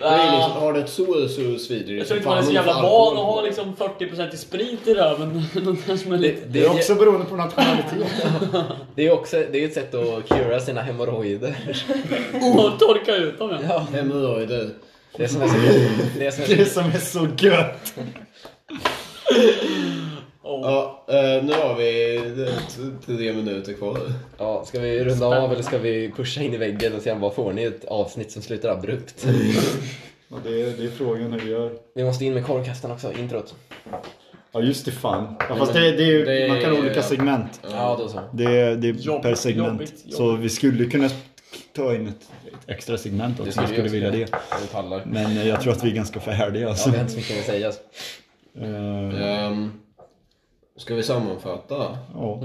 Speaker 2: Det är ju liksom, har du ett sår så svider det
Speaker 3: Ah. jag
Speaker 2: som
Speaker 3: tror inte man är
Speaker 2: fan
Speaker 3: så
Speaker 2: om
Speaker 3: jävla
Speaker 2: du får
Speaker 3: van
Speaker 2: alkohol
Speaker 3: att ha
Speaker 2: på.
Speaker 3: liksom 40% i sprit i röven. <laughs> Som är lite-
Speaker 1: det,
Speaker 4: Det är
Speaker 1: är-
Speaker 4: också beroende på nationalitet.
Speaker 1: det är också det är ett sätt att cura sina hemorrojder.
Speaker 3: Och torka ut dem ja.
Speaker 2: Hemorrojder.
Speaker 1: Det som är så gött. Det som är så
Speaker 4: Det som är så gött.
Speaker 3: Oh.
Speaker 2: Ja, eh, nu har vi eh, t- tre minuter kvar.
Speaker 1: Ja, ska vi runda av eller ska vi pusha in i väggen och se vad får ni ett avsnitt som slutar abrupt?
Speaker 4: Och Det är, det är frågan hur vi gör.
Speaker 1: Vi måste in med korvkastaren också, introt.
Speaker 4: Ja just det fan. Ja, fast det, det är ju,
Speaker 2: Det är-
Speaker 4: man kan ha olika segment.
Speaker 1: Ja, då så.
Speaker 4: Det är, det är
Speaker 3: Jobbigt,
Speaker 4: per segment.
Speaker 3: jobbigt, jobbigt.
Speaker 4: Så vi skulle kunna ta in ett, ett extra segment också om vi skulle vilja det.
Speaker 1: Vi pallar.
Speaker 4: Men eh, jag tror att vi är ganska färdiga
Speaker 1: Ja,
Speaker 4: alltså.
Speaker 1: vi har inte så mycket att säga. alltså.
Speaker 4: Eh,
Speaker 2: Um, ska vi sammanfatta?
Speaker 4: ja.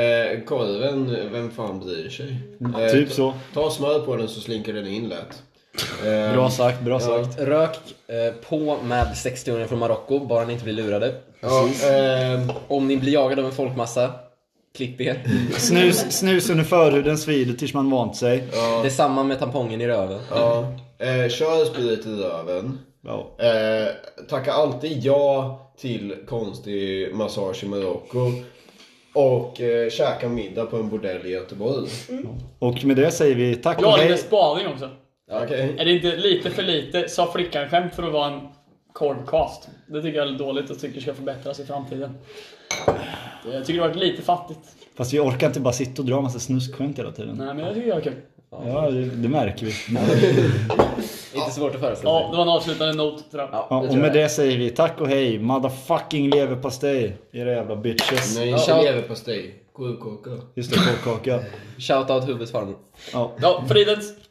Speaker 2: Eh, korven, vem fan bryr sig? Eh,
Speaker 4: Typ
Speaker 2: ta-
Speaker 4: så.
Speaker 2: Ta smör på den så slinker den in lätt. Eh,
Speaker 4: Bra sagt, bra
Speaker 1: Ja,
Speaker 4: sagt.
Speaker 1: rök eh, på med 60 från Marocko, bara ni inte blir lurade.
Speaker 2: Ja, ehm,
Speaker 1: Om ni blir jagade av en folkmassa, klipp er.
Speaker 4: Snus, snus under förhuden svider tills man vant sig.
Speaker 1: Detsamma med tampongen i röven.
Speaker 2: ja. Eh, kör sprit i röven.
Speaker 4: Ja.
Speaker 2: Eh, tacka alltid ja till konstig massage i Marocko. Och eh, käka middag på en bordell i Göteborg.
Speaker 4: Och med det säger vi tack
Speaker 3: Jag
Speaker 4: och
Speaker 3: har lite
Speaker 4: hej.
Speaker 3: spaning också.
Speaker 2: Okej.
Speaker 3: Är det inte lite för lite sa flickan skämt för att vara en korvcast? Det tycker jag är lite dåligt och tycker ska förbättras i framtiden. Jag tycker det har varit lite fattigt.
Speaker 4: Fast vi orkar inte bara sitta och dra massa snuskskämt hela tiden.
Speaker 3: Nej men jag tycker det var kul.
Speaker 4: Ja, det, det märker vi.
Speaker 1: Inte svårt att föreställa
Speaker 3: Ja,
Speaker 1: sig.
Speaker 3: det var en avslutande not tror jag.
Speaker 4: Ja,
Speaker 1: det
Speaker 4: och
Speaker 1: tror
Speaker 4: med
Speaker 1: jag.
Speaker 4: det säger vi tack och hej. Motherfucking leverpastej. Era jävla bitches.
Speaker 2: Nej,
Speaker 1: Ja.
Speaker 2: inte leverpastej. Korvkaka.
Speaker 4: Just det, korvkaka.
Speaker 1: Shoutout huvudets farmor.
Speaker 4: Ja.
Speaker 3: Ja, fridens!